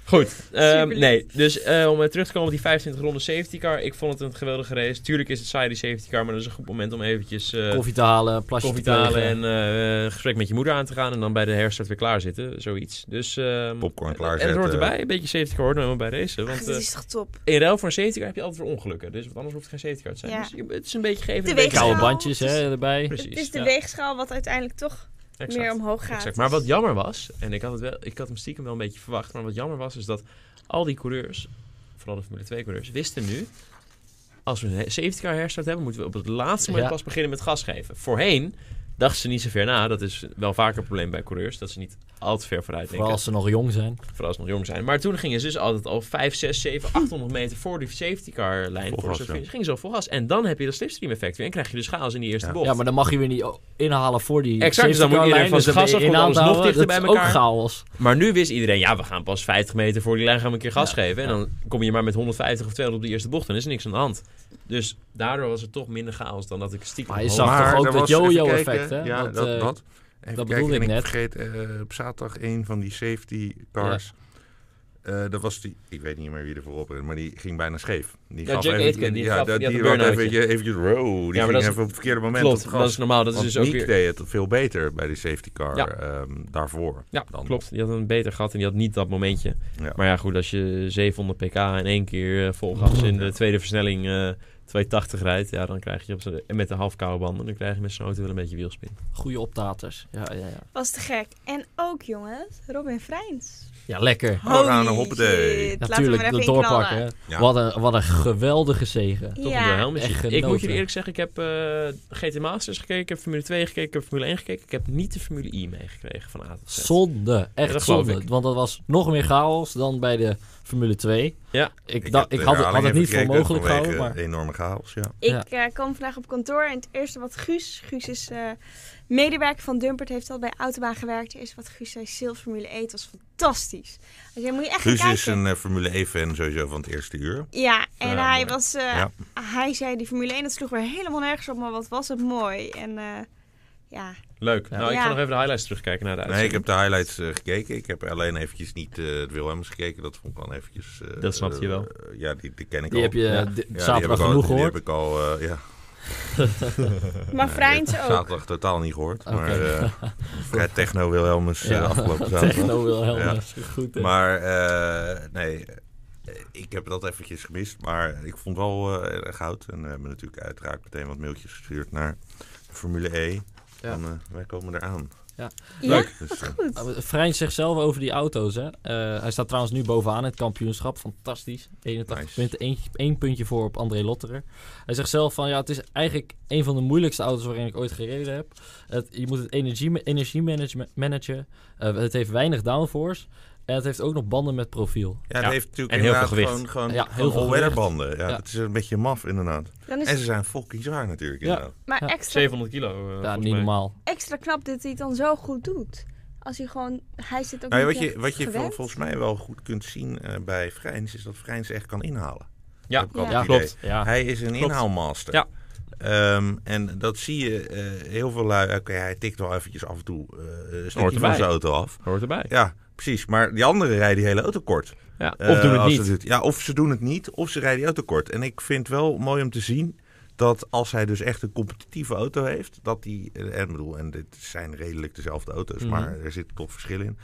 A: Goed. ehm,
C: Superlief.
A: nee, dus eh, om weer terug te komen op die 25 ronde safety car. Ik vond het een geweldige race. Tuurlijk is het saai die safety car, maar dat is een goed moment om eventjes eh, koffie,
D: Koffie te halen, plasje
A: te halen
D: plegen.
A: en eh, een gesprek met je moeder aan te gaan. En dan bij de herstart weer klaarzitten, zoiets. Dus, ehm,
B: Popcorn
A: En
B: klaarzetten.
A: het hoort erbij, een beetje safety car hoort nou helemaal bij racen.
C: Ach,
A: Want
C: dit
A: eh,
C: is toch top.
A: in ruil voor een safety car heb je altijd weer ongelukken. Dus want anders hoeft het geen safety car te zijn.
C: Ja.
A: Dus je- het is een beetje geven. en
C: De
A: een beetje
C: weegschaal.
D: Koude
A: houden.
D: bandjes hè, erbij.
A: Precies.
C: het is de
A: ja,
C: weegschaal wat uiteindelijk toch
A: exact.
C: meer omhoog gaat.
A: Exact. Maar wat jammer was, en ik had, het wel, ik had hem stiekem wel een beetje verwacht, maar wat jammer was, is dat al die coureurs, vooral de Formule 2 coureurs, wisten nu, als we een he- safety car herstart hebben, moeten we op het laatste moment
D: Ja.
A: pas beginnen met gas geven. Voorheen dachten ze niet zo ver na, dat is wel vaker een probleem bij coureurs, dat ze niet al te ver vooruit denken,
D: Vooral als ze nog jong zijn.
A: vooral als ze nog jong zijn. Maar toen gingen ze dus altijd al 5, 6, 7, 800 meter voor die safety car lijn,
B: Vol
A: voor
B: gas,
A: ze
B: ja.
A: finish, gingen ze al vol gas. En dan heb je dat slipstream effect weer en krijg je dus chaos in die eerste
B: Ja.
A: bocht.
D: Ja, maar dan mag je weer niet o- inhalen voor die
A: Exact, dus dan moet
D: safety car
A: iedereen
D: lijn,
A: van
D: dus
A: het
D: dan
A: gas
D: ben je
A: afgooien,
D: in
A: alles nog
D: aanhouden.
A: dichter bij
D: Dat is
A: elkaar.
D: ook chaos.
A: Maar nu wist iedereen, ja, we gaan pas 50 meter voor die lijn gaan we een keer gas
D: Ja,
A: geven. En
D: ja.
A: dan kom je maar met 150 of 200 op de eerste bocht en is er niks aan de hand. Dus daardoor was het toch minder chaos dan dat ik stiekem...
D: Maar je
A: had
D: zag-
A: gehoopt.
D: toch ook
B: er
D: dat
B: was- even
D: yo-yo-effect,
B: kijken,
D: hè?
B: Ja,
D: Dat,
B: dat,
D: eh,
B: dat, Even kijken,
D: dat bedoelde ik
B: en
D: net.
B: Ik vergeet eh, op zaterdag een van die safety cars. Eh, dat was die, ik weet niet meer wie er voorop reed, maar die ging bijna scheef. Die
A: Ja, Jack
B: even-
A: Aitken, die
B: ja,
A: gaf-
B: dat-
A: die had
B: die
A: een
B: had
A: burn-outje.
B: even, eventjes row. Die
A: maar
B: ging
A: dat is-
B: even op het verkeerde moment op
A: Klopt,
B: het gas.
A: dat is normaal. Dat is
B: Want
A: dus ook
B: Nick
A: weer...
B: deed het veel beter bij die safety car
A: Ja.
B: ehm, daarvoor.
A: Ja,
B: dan.
A: klopt. Die had een beter gat en die had niet dat momentje.
B: Ja.
A: Maar ja, goed, als je 700 pk in één keer eh, vol gas in de tweede versnelling eh 280 rijdt, ja, dan krijg je op z'n- en met de half koude banden, dan krijg je met zo'n auto wel een beetje wielspin.
D: Goede optaters. Ja, ja, ja.
C: Was te gek. En ook, jongens, Robin Vrijns.
D: ja lekker.
B: We gaan
C: Holy
B: een hoppatee.
C: shit, laten we
D: Natuurlijk,
C: hem er
D: dat
C: even in knallen.
D: doorpakken.
B: Ja.
D: Wat, een, wat een geweldige zegen.
A: Toch
C: Ja.
A: een duel, misschien.
D: echt
A: Ik
D: genoten.
A: moet jullie eerlijk zeggen, ik heb eh, GT Masters gekeken, ik heb Formule 2 gekeken, ik heb Formule 1 gekeken. Ik heb niet de Formule I meegekregen van A tot Z.
D: Zonde, echt
A: Ja, dat geloof
D: zonde.
A: ik.
D: Want dat was nog meer chaos dan bij de Formule 2.
A: Ja.
D: Ik,
B: Ik heb
D: dacht-
B: de
D: ik had, het- had
B: herhaling
D: het niet
B: even
D: voor
B: gekeken
D: mogelijk
B: vanwege
D: gehouden, maar
B: enorme chaos, ja.
D: Ja.
C: Ik eh, kwam vandaag op kantoor en het eerste wat Guus... Guus is eh, medewerker van Dumpert, heeft al bij Autobaan gewerkt. Het eerste wat Guus zei, Sil Formule 1, het was fantastisch. Hij zei, moet je echt gaan
B: Guus
C: kijken.
B: is een eh, Formule 1-fan sowieso van het eerste uur.
C: Ja, en
A: Ja,
C: hij,
A: mooi.
C: was, eh,
B: Ja.
C: hij zei, die Formule 1, dat sloeg weer helemaal nergens op. Maar wat was het mooi. En eh, ja,
A: Leuk.
D: Ja.
A: Nou, ik
C: Ja.
A: ga nog even de highlights terugkijken naar de
B: Nee, ik
A: uitzending.
B: heb de highlights eh, gekeken. Ik heb alleen eventjes niet eh de Wilhelms gekeken. Dat vond ik dan eventjes... eh,
A: Dat snapte je wel.
B: eh, ja, die, die ken ik
D: die
B: al.
D: heb je
A: Ja.
D: d-
B: Ja, die heb
D: zaterdag
B: ik al-
D: genoeg
B: Die
D: gehoord.
B: heb ik al, eh, ja.
C: maar Vrijns
B: Nee,
C: ook.
B: Zaterdag totaal niet gehoord.
D: Oké.
B: Maar eh, Fred Techno Wilhelmus eh,
D: Ja,
B: afgelopen zaterdag.
D: Techno Wilhelmus. Goed, hè.
B: Maar eh, nee, eh, ik heb dat eventjes gemist. Maar ik vond wel eh, erg goud. En we hebben natuurlijk uiteraard meteen wat mailtjes gestuurd naar Formule E.
D: Ja.
B: Van, eh, wij komen eraan.
C: Ja,
B: Dus,
C: wat
B: eh,
C: goed.
D: Vrijn Ah, zegt zelf over die auto's. Hè. Eh, hij staat trouwens nu bovenaan in het kampioenschap. Fantastisch. 81
B: Nice.
D: punten. Eén, één puntje voor op André Lotterer. Hij zegt zelf van ja, het is eigenlijk een van de moeilijkste auto's waarin ik ooit gereden heb. Het, je moet het energie, energie management- managen. Eh, het heeft weinig downforce. En het heeft ook nog banden met profiel.
B: ja, het
A: Ja.
B: heeft natuurlijk
A: En heel veel
B: inderdaad
A: gewicht.
B: gewoon, gewoon,
D: Ja, heel
B: gewoon
D: veel
B: all-weather
D: gewicht.
B: banden. Ja,
D: Ja.
B: Het is een beetje maf inderdaad.
C: Dan is
B: En ze zijn fucking zwaar natuurlijk
D: Ja.
B: inderdaad.
C: maar
D: Ja.
C: extra
A: 700 kilo. eh, volgens
D: ja, niet
A: mij.
D: normaal.
C: extra knap dat hij het dan zo goed doet. Als hij gewoon, hij zit ook
B: Nou,
C: niet
B: wat je,
C: echt
B: wat je vol-
C: gewend.
B: volgens mij wel goed kunt zien eh, bij Vrijns, is dat Vrijns echt kan inhalen.
A: Ja.
B: heb ik altijd
D: Ja,
B: het idee.
A: klopt.
D: Ja.
B: Hij is een
A: Ah, Klopt.
B: inhaalmaster.
A: Ja.
B: Ehm, en dat zie je eh, heel veel lui. Oké, hij tikt wel eventjes af en toe eh een stukje van
A: erbij.
B: zijn auto af.
A: Hoort erbij.
B: Ja, precies. Maar die anderen rijden die hele auto kort.
A: Ja. Of
B: Eh,
A: doen het
B: als
A: niet.
B: ze ja, of ze doen het niet, of ze rijden die auto kort. En ik vind wel mooi om te zien dat als hij dus echt een competitieve auto heeft, dat die, eh, en bedoel, en dit zijn redelijk dezelfde auto's,
A: Mhm.
B: maar er zit toch verschil in,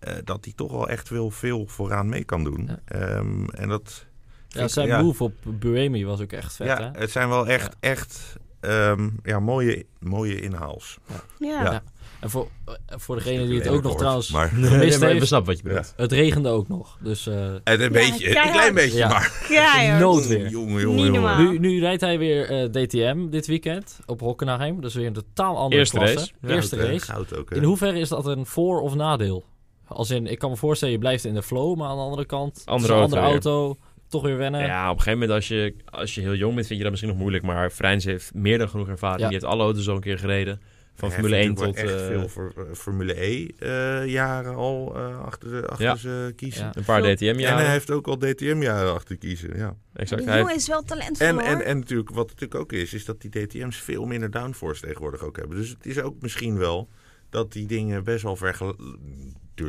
B: eh, dat hij toch wel echt wel veel vooraan mee kan doen.
D: Ja.
B: Ehm, en dat. vind
D: Ja,
B: ik-
D: zijn
B: ja,
D: move op Buemi was ook echt vet,
B: ja,
D: hè?
B: het zijn wel echt, echt ehm, ja, mooie, mooie inhaals.
C: Ja.
B: Ja.
D: En voor, eh, voor degene
B: Natuurlijk
D: die het
B: een
D: ook nog
B: woord,
D: trouwens
B: Maar
D: gemist
A: maar we
D: heeft,
A: snappen wat je bedoelt.
D: het regende ook nog. Dus eh,
B: het een beetje, een klein
C: keihard.
B: beetje,
D: Ja.
B: maar.
C: Keihard.
D: Nood weer.
B: Jongen,
C: Niet
B: jongen, jongen.
C: normaal.
D: Nu, nu rijdt hij weer eh, DTM dit weekend op Hockenheim. Dus weer een totaal andere
A: Eerste
D: klasse.
A: race. Ja,
D: Eerste
B: Goud, eh,
D: race.
B: Goud ook, hè.
D: In hoeverre is dat een voor- of nadeel? Als in, ik kan me voorstellen, je blijft in de flow, maar aan de andere kant, het is
A: Andere
D: een
A: auto
D: andere auto, toch weer wennen.
A: Ja, op een gegeven moment als je, als je heel jong bent, vind je dat misschien nog moeilijk. Maar Vrijns heeft meer dan genoeg ervaring.
D: Ja.
A: Die heeft alle auto's al een keer gereden. Van
B: Hij
A: Formule
B: heeft
A: 1 tot...
B: natuurlijk wel
A: eh,
B: echt veel voor, eh, Formule E eh, jaren al eh, achter, de, achter
A: Ja.
B: ze kiezen.
D: Ja.
A: een paar
C: Veel-
B: En hij
A: DTM-jaren.
B: heeft ook al DTM-jaren achter kiezen. Ja.
A: Exact.
C: Die
A: Hij
C: jongen is wel talentvol
B: En,
C: hoor.
B: en, en natuurlijk, wat het natuurlijk ook is, is dat die DTM's veel minder downforce tegenwoordig ook hebben. Dus het is ook misschien wel dat die dingen best wel vergelijkbaar.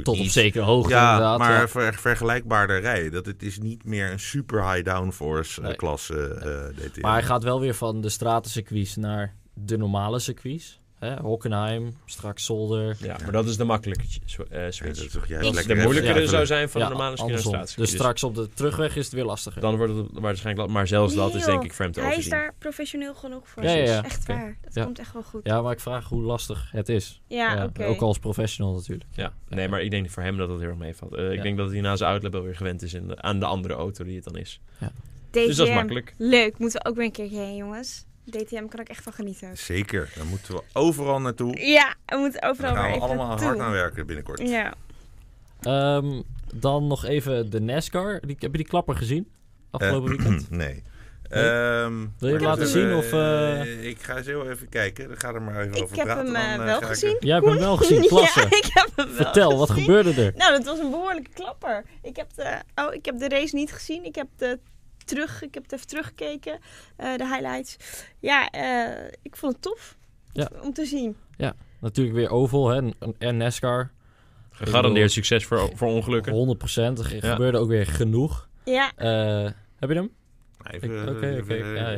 D: Tot op zekere hoogte
B: Ja,
D: inderdaad.
B: maar
D: ja.
B: ver- vergelijkbaarder rijden. Dat het is niet meer een super high downforce eh,
D: Nee.
B: klasse eh DTM.
D: Maar hij gaat wel weer van de stratencircuits naar de normale circuits. Hè? Hockenheim, straks Zolder.
A: ja, maar dat is de makkelijke ch- eh,
B: Ja, dat
A: switch.
B: is toch
A: Als
B: juist
A: het
B: lekker
A: de
B: even-
A: moeilijkere
B: ja,
D: dus,
A: zou zijn van
D: Ja,
A: de normale
D: andersom.
A: skinnerstraat.
D: Dus straks op de terugweg is het weer lastiger.
A: Dan wordt het waarschijnlijk... lastig. Maar zelfs dat is
C: Nee,
A: denk
C: joh.
A: ik voor hem te
C: Hij is
A: overzien.
C: daar professioneel genoeg voor.
D: Ja, ja, ja.
C: Echt
A: Oké.
C: waar. Dat
D: Ja.
C: komt echt wel goed. Ja,
D: Ja, maar ik vraag hoe lastig het is. Ja,
C: oké.
D: Ook als professional natuurlijk.
A: Ja. Nee, maar ik denk voor hem dat dat heel erg meevalt. Eh, ik
D: Ja.
A: denk dat hij na zijn outlap wel weer gewend is in de- aan de andere auto die het dan is.
C: DTM.
A: Dus dat is makkelijk.
C: Leuk. Moeten we ook weer een keertje heen, jongens. DTM kan ik echt van genieten.
B: Zeker, daar moeten we overal naartoe.
C: Ja, we moeten
B: Daar
C: overal
B: gaan
C: weer
B: we
C: even
B: allemaal
C: naartoe.
B: hard aan werken binnenkort.
C: Ja.
D: Ehm, dan nog even de NASCAR. Die, heb je die klapper gezien? Afgelopen
B: Eh,
D: weekend?
B: Nee.
D: Nee?
B: Ehm,
D: Wil je hem
B: maar
D: laten
B: dat,
D: zien
B: eh,
D: of, eh?
B: Ik ga eens heel even kijken. Dan ga er maar even
C: Ik
B: over
C: heb
B: praten.
C: hem,
B: dan,
C: eh,
B: eh,
C: wel
B: ga ik-
C: gezien.
D: Jij hebt hem wel gezien,
C: ja,
D: klasse.
C: ik heb hem wel
D: Vertel, wat
C: gezien.
D: gebeurde er?
C: Nou, dat was een behoorlijke klapper. Ik heb de, oh, ik heb de race niet gezien. Ik heb de terug, ik heb het even teruggekeken, eh, de highlights. Ja, eh, ik vond het tof
D: Ja.
C: om te zien.
D: Natuurlijk weer Oval hè, en- en NASCAR.
A: Gegarandeerd succes voor, voor ongelukken.
D: 100%. Er ge-
A: Ja.
D: gebeurde ook weer genoeg.
C: Ja,
D: Eh, heb je hem?
B: Even,
D: Ik-
B: eh,
D: oké,
B: even,
D: oké,
B: eh,
D: ja, ja.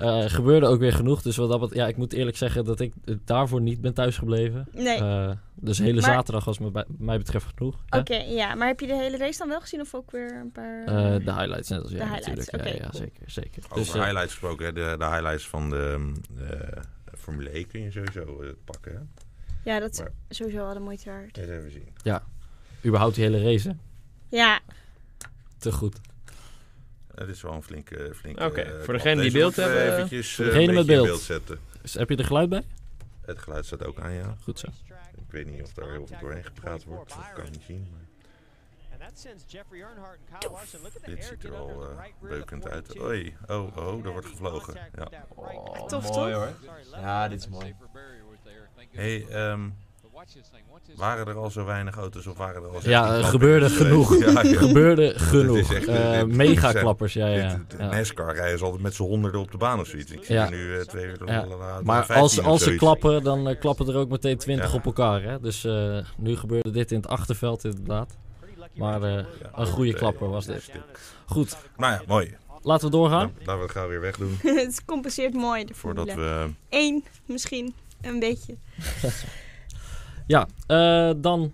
B: eh,
D: Eh, gebeurde ook weer genoeg. Dus wat dat bet- ja, ik moet eerlijk zeggen dat ik eh, daarvoor niet ben thuisgebleven.
C: nee.
D: Eh, dus hele
C: Maar-
D: zaterdag was me bij- mij betreft genoeg. Ja?
C: Oké, ja. Maar heb je de hele race dan wel gezien of ook weer een paar...
D: Eh, de highlights net als jij
C: highlights,
D: natuurlijk.
C: oké,
D: ja, ja,
C: cool.
D: zeker, zeker.
B: Over
D: Dus, eh,
B: highlights gesproken. hè, De, de highlights van de eh, Formule E kun je sowieso eh, pakken. Hè?
C: ja, dat is
B: maar-
C: sowieso wel de moeite waard.
B: Eens even zien.
D: überhaupt die hele race, hè?
C: Ja,
D: Te goed.
B: Het is wel een flinke... flinke
A: Oké,
B: eh,
A: voor
B: klap.
A: degene die
B: Deze
A: beeld
B: moeten we
A: hebben,
B: Eventjes,
D: voor
B: eh,
D: degene
B: een
D: met
B: beetje in
D: beeld.
B: zetten.
D: Dus heb je er geluid bij?
B: Het geluid staat ook aan, ja.
D: Goed zo.
B: Ik weet niet of daar heel veel doorheen gepraat wordt. Dat kan je niet zien. Maar dit ziet er wel eh, beukend uit. Oei, oh, oh, er wordt gevlogen. Ja.
D: Oh,
C: Tof, mooi,
A: hoor. Ja, dit is mooi.
B: Hey, ehm, waren er al zo weinig auto's of waren er al zo
D: Ja, er gebeurde genoeg.
B: Ja, ja.
D: Gebeurde genoeg.
B: echt,
D: Eh,
B: dit- dit-
D: Megaklappers, ja, ja.
B: Dit- eh, dit-
D: ja.
B: NASCAR rijden ze altijd met z'n honderden op de baan of zoiets. Ik zie
D: Ja.
B: er nu eh, twee uur
D: Ja.
B: later
D: Maar
B: 15
D: als,
B: of
D: als ze
B: zoiets.
D: klappen, dan eh, klappen er ook meteen 20
B: Ja.
D: op elkaar. Hè? Dus eh, nu gebeurde dit in het achterveld inderdaad. Maar eh,
B: Ja,
D: een goede
B: eh,
D: klapper was dit. Goed,
B: Nou ja, mooi.
D: laten we doorgaan.
B: Dan- Laten we het gauw weer wegdoen
C: het compenseert mooi de
B: voordat
C: formule.
B: we...
C: Eén misschien, een beetje.
D: Ja, eh, dan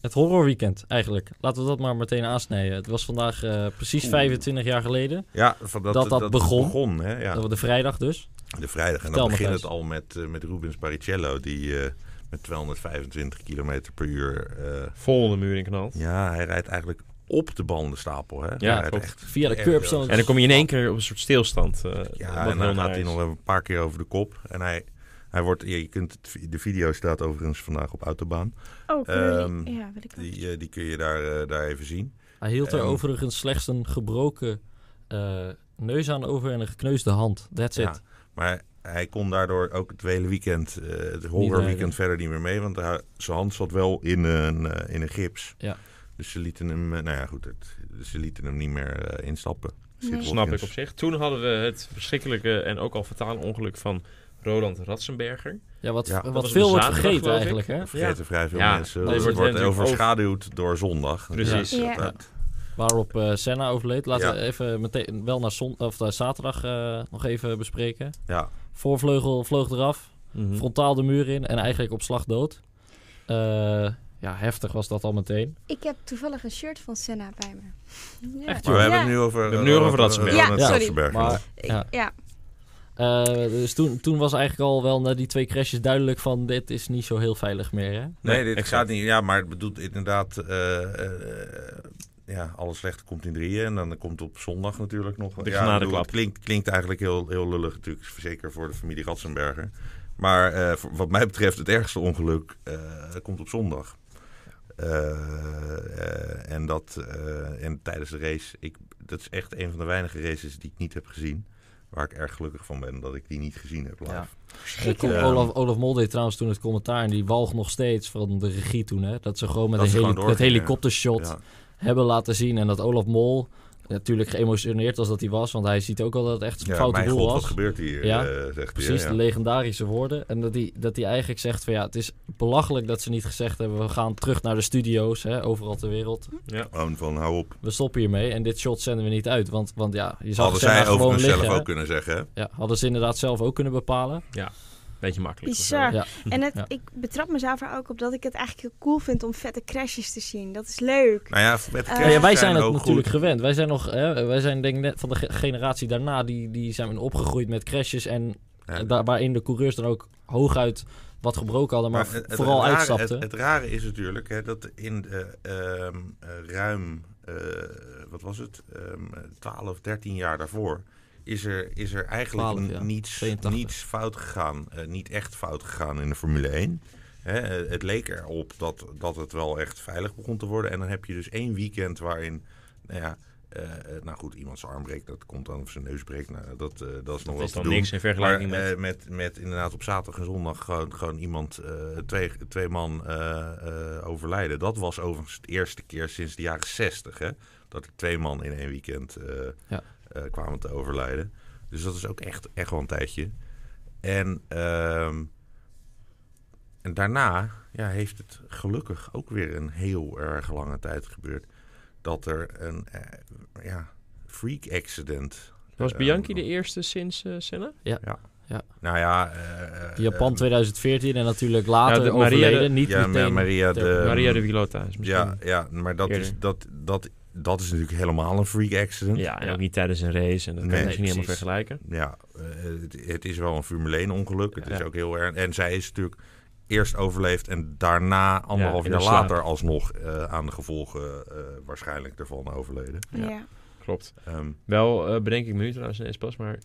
D: het horrorweekend eigenlijk. Laten we dat maar meteen aansnijden. Het was vandaag eh, precies
B: Oeh.
D: 25 jaar geleden.
B: Ja, van dat,
D: Dat dat begon.
B: hè? Ja.
D: Dat we de vrijdag dus.
B: De vrijdag. En
D: Vertel,
B: dan begint
D: Matthijs.
B: het al met, eh, met Rubens Barrichello, die eh, met 225 km per uur... eh,
A: Vol de muur in knalt.
B: ja, hij rijdt eigenlijk op de bandenstapel, hè?
A: Ja,
B: Hij rijdt
A: klopt.
B: echt
D: Via de
B: erg
D: curbstone.
A: En dan kom je in één keer op een soort stilstand. eh, wat
B: Ja, en
A: heel
B: dan
A: naar
B: gaat hij
A: is.
B: nog een paar keer over de kop. En hij, hij wordt, ja, je kunt het, vi- de video staat overigens vandaag op Autobaan.
C: Oh, kunnen jullie-
B: Ehm,
C: ja, wil ik wel.
B: Die, eh, die kun je daar, eh, daar even zien.
D: Hij hield er
B: Ehm.
D: overigens slechts een gebroken eh, neus aan over en een gekneusde hand. That's it.
B: Ja. Maar hij kon daardoor ook het hele weekend, eh, het
D: rijden.
B: horrorweekend verder niet meer mee. Want hij- zijn hand zat wel in een, eh, in een gips.
D: Ja.
B: Dus ze lieten hem, eh, nou ja goed, het, ze lieten hem niet meer eh, instappen. Sid
C: Nee.
A: Snap ik
B: Watkins.
A: op zich. Toen hadden we het verschrikkelijke en ook al fatale ongeluk van Roland
B: Oh,
A: Ratzenberger.
D: Ja, wat,
B: Ja, dat
D: wat
A: was
D: veel
A: op
D: wordt
A: zaterdag,
D: vergeten
A: geloof ik.
D: eigenlijk, hè?
B: Dat vergeten vrij veel
A: Ja,
B: mensen.
A: dat
B: want Het
A: wordt
B: wordt
A: natuurlijk
B: overschaduwd door zondag.
A: Precies.
B: Ja,
C: Ja.
B: dat-
D: Waarop eh, Senna overleed. Laten
B: Ja.
D: we even meteen wel naar zon, of, naar zaterdag eh, nog even bespreken.
B: ja.
D: Voorvleugel vloog eraf.
B: Hm.
A: Mhm.
D: Frontaal de muur in en eigenlijk op slag dood. Eh, ja, heftig was dat al meteen.
C: Ik heb toevallig een shirt van Senna bij me. Ja.
D: Echt,
B: Maar we hebben
C: Ja.
B: het nu over...
A: hebben het nu over
B: eh,
A: Ratzenberger.
B: Ronald
C: Ja, sorry.
B: Ratzenberger.
D: Maar
C: Ik-
D: Ja.
C: ja.
D: eh, dus toen, toen was eigenlijk al wel na die twee crashes duidelijk van... dit is niet zo heel veilig meer, hè?
B: Nee,
A: Nee,
B: dit
A: exact.
B: gaat niet. Ja, maar het bedoelt inderdaad... eh, eh, ja, alles slechte komt in drieën. En dan komt op zondag natuurlijk nog...
A: De
B: ja,
A: genadeklap.
B: ik bedoel, het klinkt, klinkt eigenlijk heel, heel lullig natuurlijk. Zeker voor de familie Ratzenberger. Maar eh, voor- wat mij betreft het ergste ongeluk eh, komt op zondag. Eh, eh, en dat eh, en tijdens de race, ik, dat is echt een van de weinige races die ik niet heb gezien. Waar ik erg gelukkig van ben dat ik die niet gezien heb live.
D: Ja. Ik
C: Schrikkelijk.
D: kom,
B: Ja.
D: Olaf, Olaf Mol deed trouwens toen het commentaar en die walg nog steeds van de regie toen. Hè, dat ze gewoon met
B: Dat
D: een
B: ze
D: heli
B: gewoon
D: het
B: doorgingen.
D: helikoptershot
B: Ja.
D: hebben laten zien. En dat Olaf Mol, natuurlijk geëmotioneerd als dat hij was, want hij ziet ook al dat het echt een
B: Ja,
D: foute
B: mijn
D: boel
B: god,
D: was.
B: wat gebeurt hier?
D: Ja,
B: eh, zegt hij,
D: Precies,
B: ja.
D: de legendarische woorden. En dat hij, dat hij eigenlijk zegt van ja, het is belachelijk dat ze niet gezegd hebben... we gaan terug naar de studio's, hè, overal ter wereld.
B: Gewoon van hou op.
D: We stoppen hiermee en dit shot zenden we niet uit. Want, want ja, je zou
B: Hadden
D: het
B: zij
D: gewoon
B: overigens
D: liggen.
B: zelf
D: hè.
B: ook kunnen zeggen. hè?
D: Ja, hadden ze inderdaad zelf ook kunnen bepalen.
A: Beetje makkelijk.
C: Bizar.
D: Ja.
C: En het,
D: Ja.
C: ik betrap mezelf er ook op dat ik het eigenlijk heel cool vind om vette crashes te zien. Dat is leuk.
B: Nou ja, met de
C: Eh,
D: Ja, ja, wij
B: kerst
D: zijn het
B: ook
D: natuurlijk
B: goed.
D: gewend. Wij zijn nog, hè, wij zijn denk ik net van de ge- generatie daarna, die, die zijn opgegroeid met crashes en
B: Ja.
D: eh, daar, waarin de coureurs dan ook hooguit wat gebroken hadden, maar,
B: Maar het- het
D: vooral
B: rare-
D: uitstapten.
B: Het, het rare is dus natuurlijk hè, dat in eh, ehm, eh, ruim, eh, wat was het, Ehm, 12, 13 jaar daarvoor... Is er, is er eigenlijk
D: 12,
B: n-
D: ja.
B: niets,
D: 82.
B: niets fout gegaan, eh, niet echt fout gegaan in de Formule 1. Hè, eh, het leek erop dat, dat het wel echt veilig begon te worden. En dan heb je dus één weekend waarin, nou ja, eh, eh, nou goed, iemand zijn arm breekt, dat komt dan, of zijn neus breekt, nou, dat, eh, dat is nog
A: Dat
B: wel
A: is
B: te
A: dan
B: doen.
A: niks in
B: Maar
A: vergelijking met...
B: eh, met, met inderdaad op zaterdag en zondag gewoon, gewoon iemand, eh, twee, twee man eh, eh, overlijden. Dat was overigens de eerste keer sinds de jaren zestig, hè? Dat er twee man in één weekend eh,
D: Ja.
B: eh, kwamen te overlijden. Dus dat is ook echt, echt wel een tijdje. En, ehm, en daarna ja, heeft het gelukkig ook weer een heel erg lange tijd gebeurd. Dat er een eh, ja, freak accident.
A: Was
B: eh,
A: Bianchi de eerste sinds eh, Senna?
B: Nou ja, eh,
D: Japan
B: eh,
D: 2014 en natuurlijk
A: Ja,
D: later
A: de Maria
D: overleden,
A: de-
D: niet
B: ja,
D: meteen.
B: Maria de,
D: ter-
A: Maria de Vilota is misschien...
B: Ehm, ja, ja, maar dat is,
A: Eerder.
B: dat, dat, dat is natuurlijk helemaal een freak accident.
A: Ja, en
D: Ja.
A: ook niet tijdens een race. En dat kan
B: Nee,
A: je misschien niet helemaal
D: precies.
A: vergelijken.
B: Ja, eh, het, het is wel een Formule 1 ongeluk. Het
A: Ja.
B: is ook heel erg. En zij is natuurlijk eerst overleefd en daarna, anderhalf
A: in
B: jaar
A: haar slaap.
B: later, alsnog eh, aan de gevolgen eh, waarschijnlijk ervan overleden.
A: Ja.
C: Ja.
A: Klopt.
B: Ehm,
A: Wel eh, bedenk ik me nu trouwens ineens pas, maar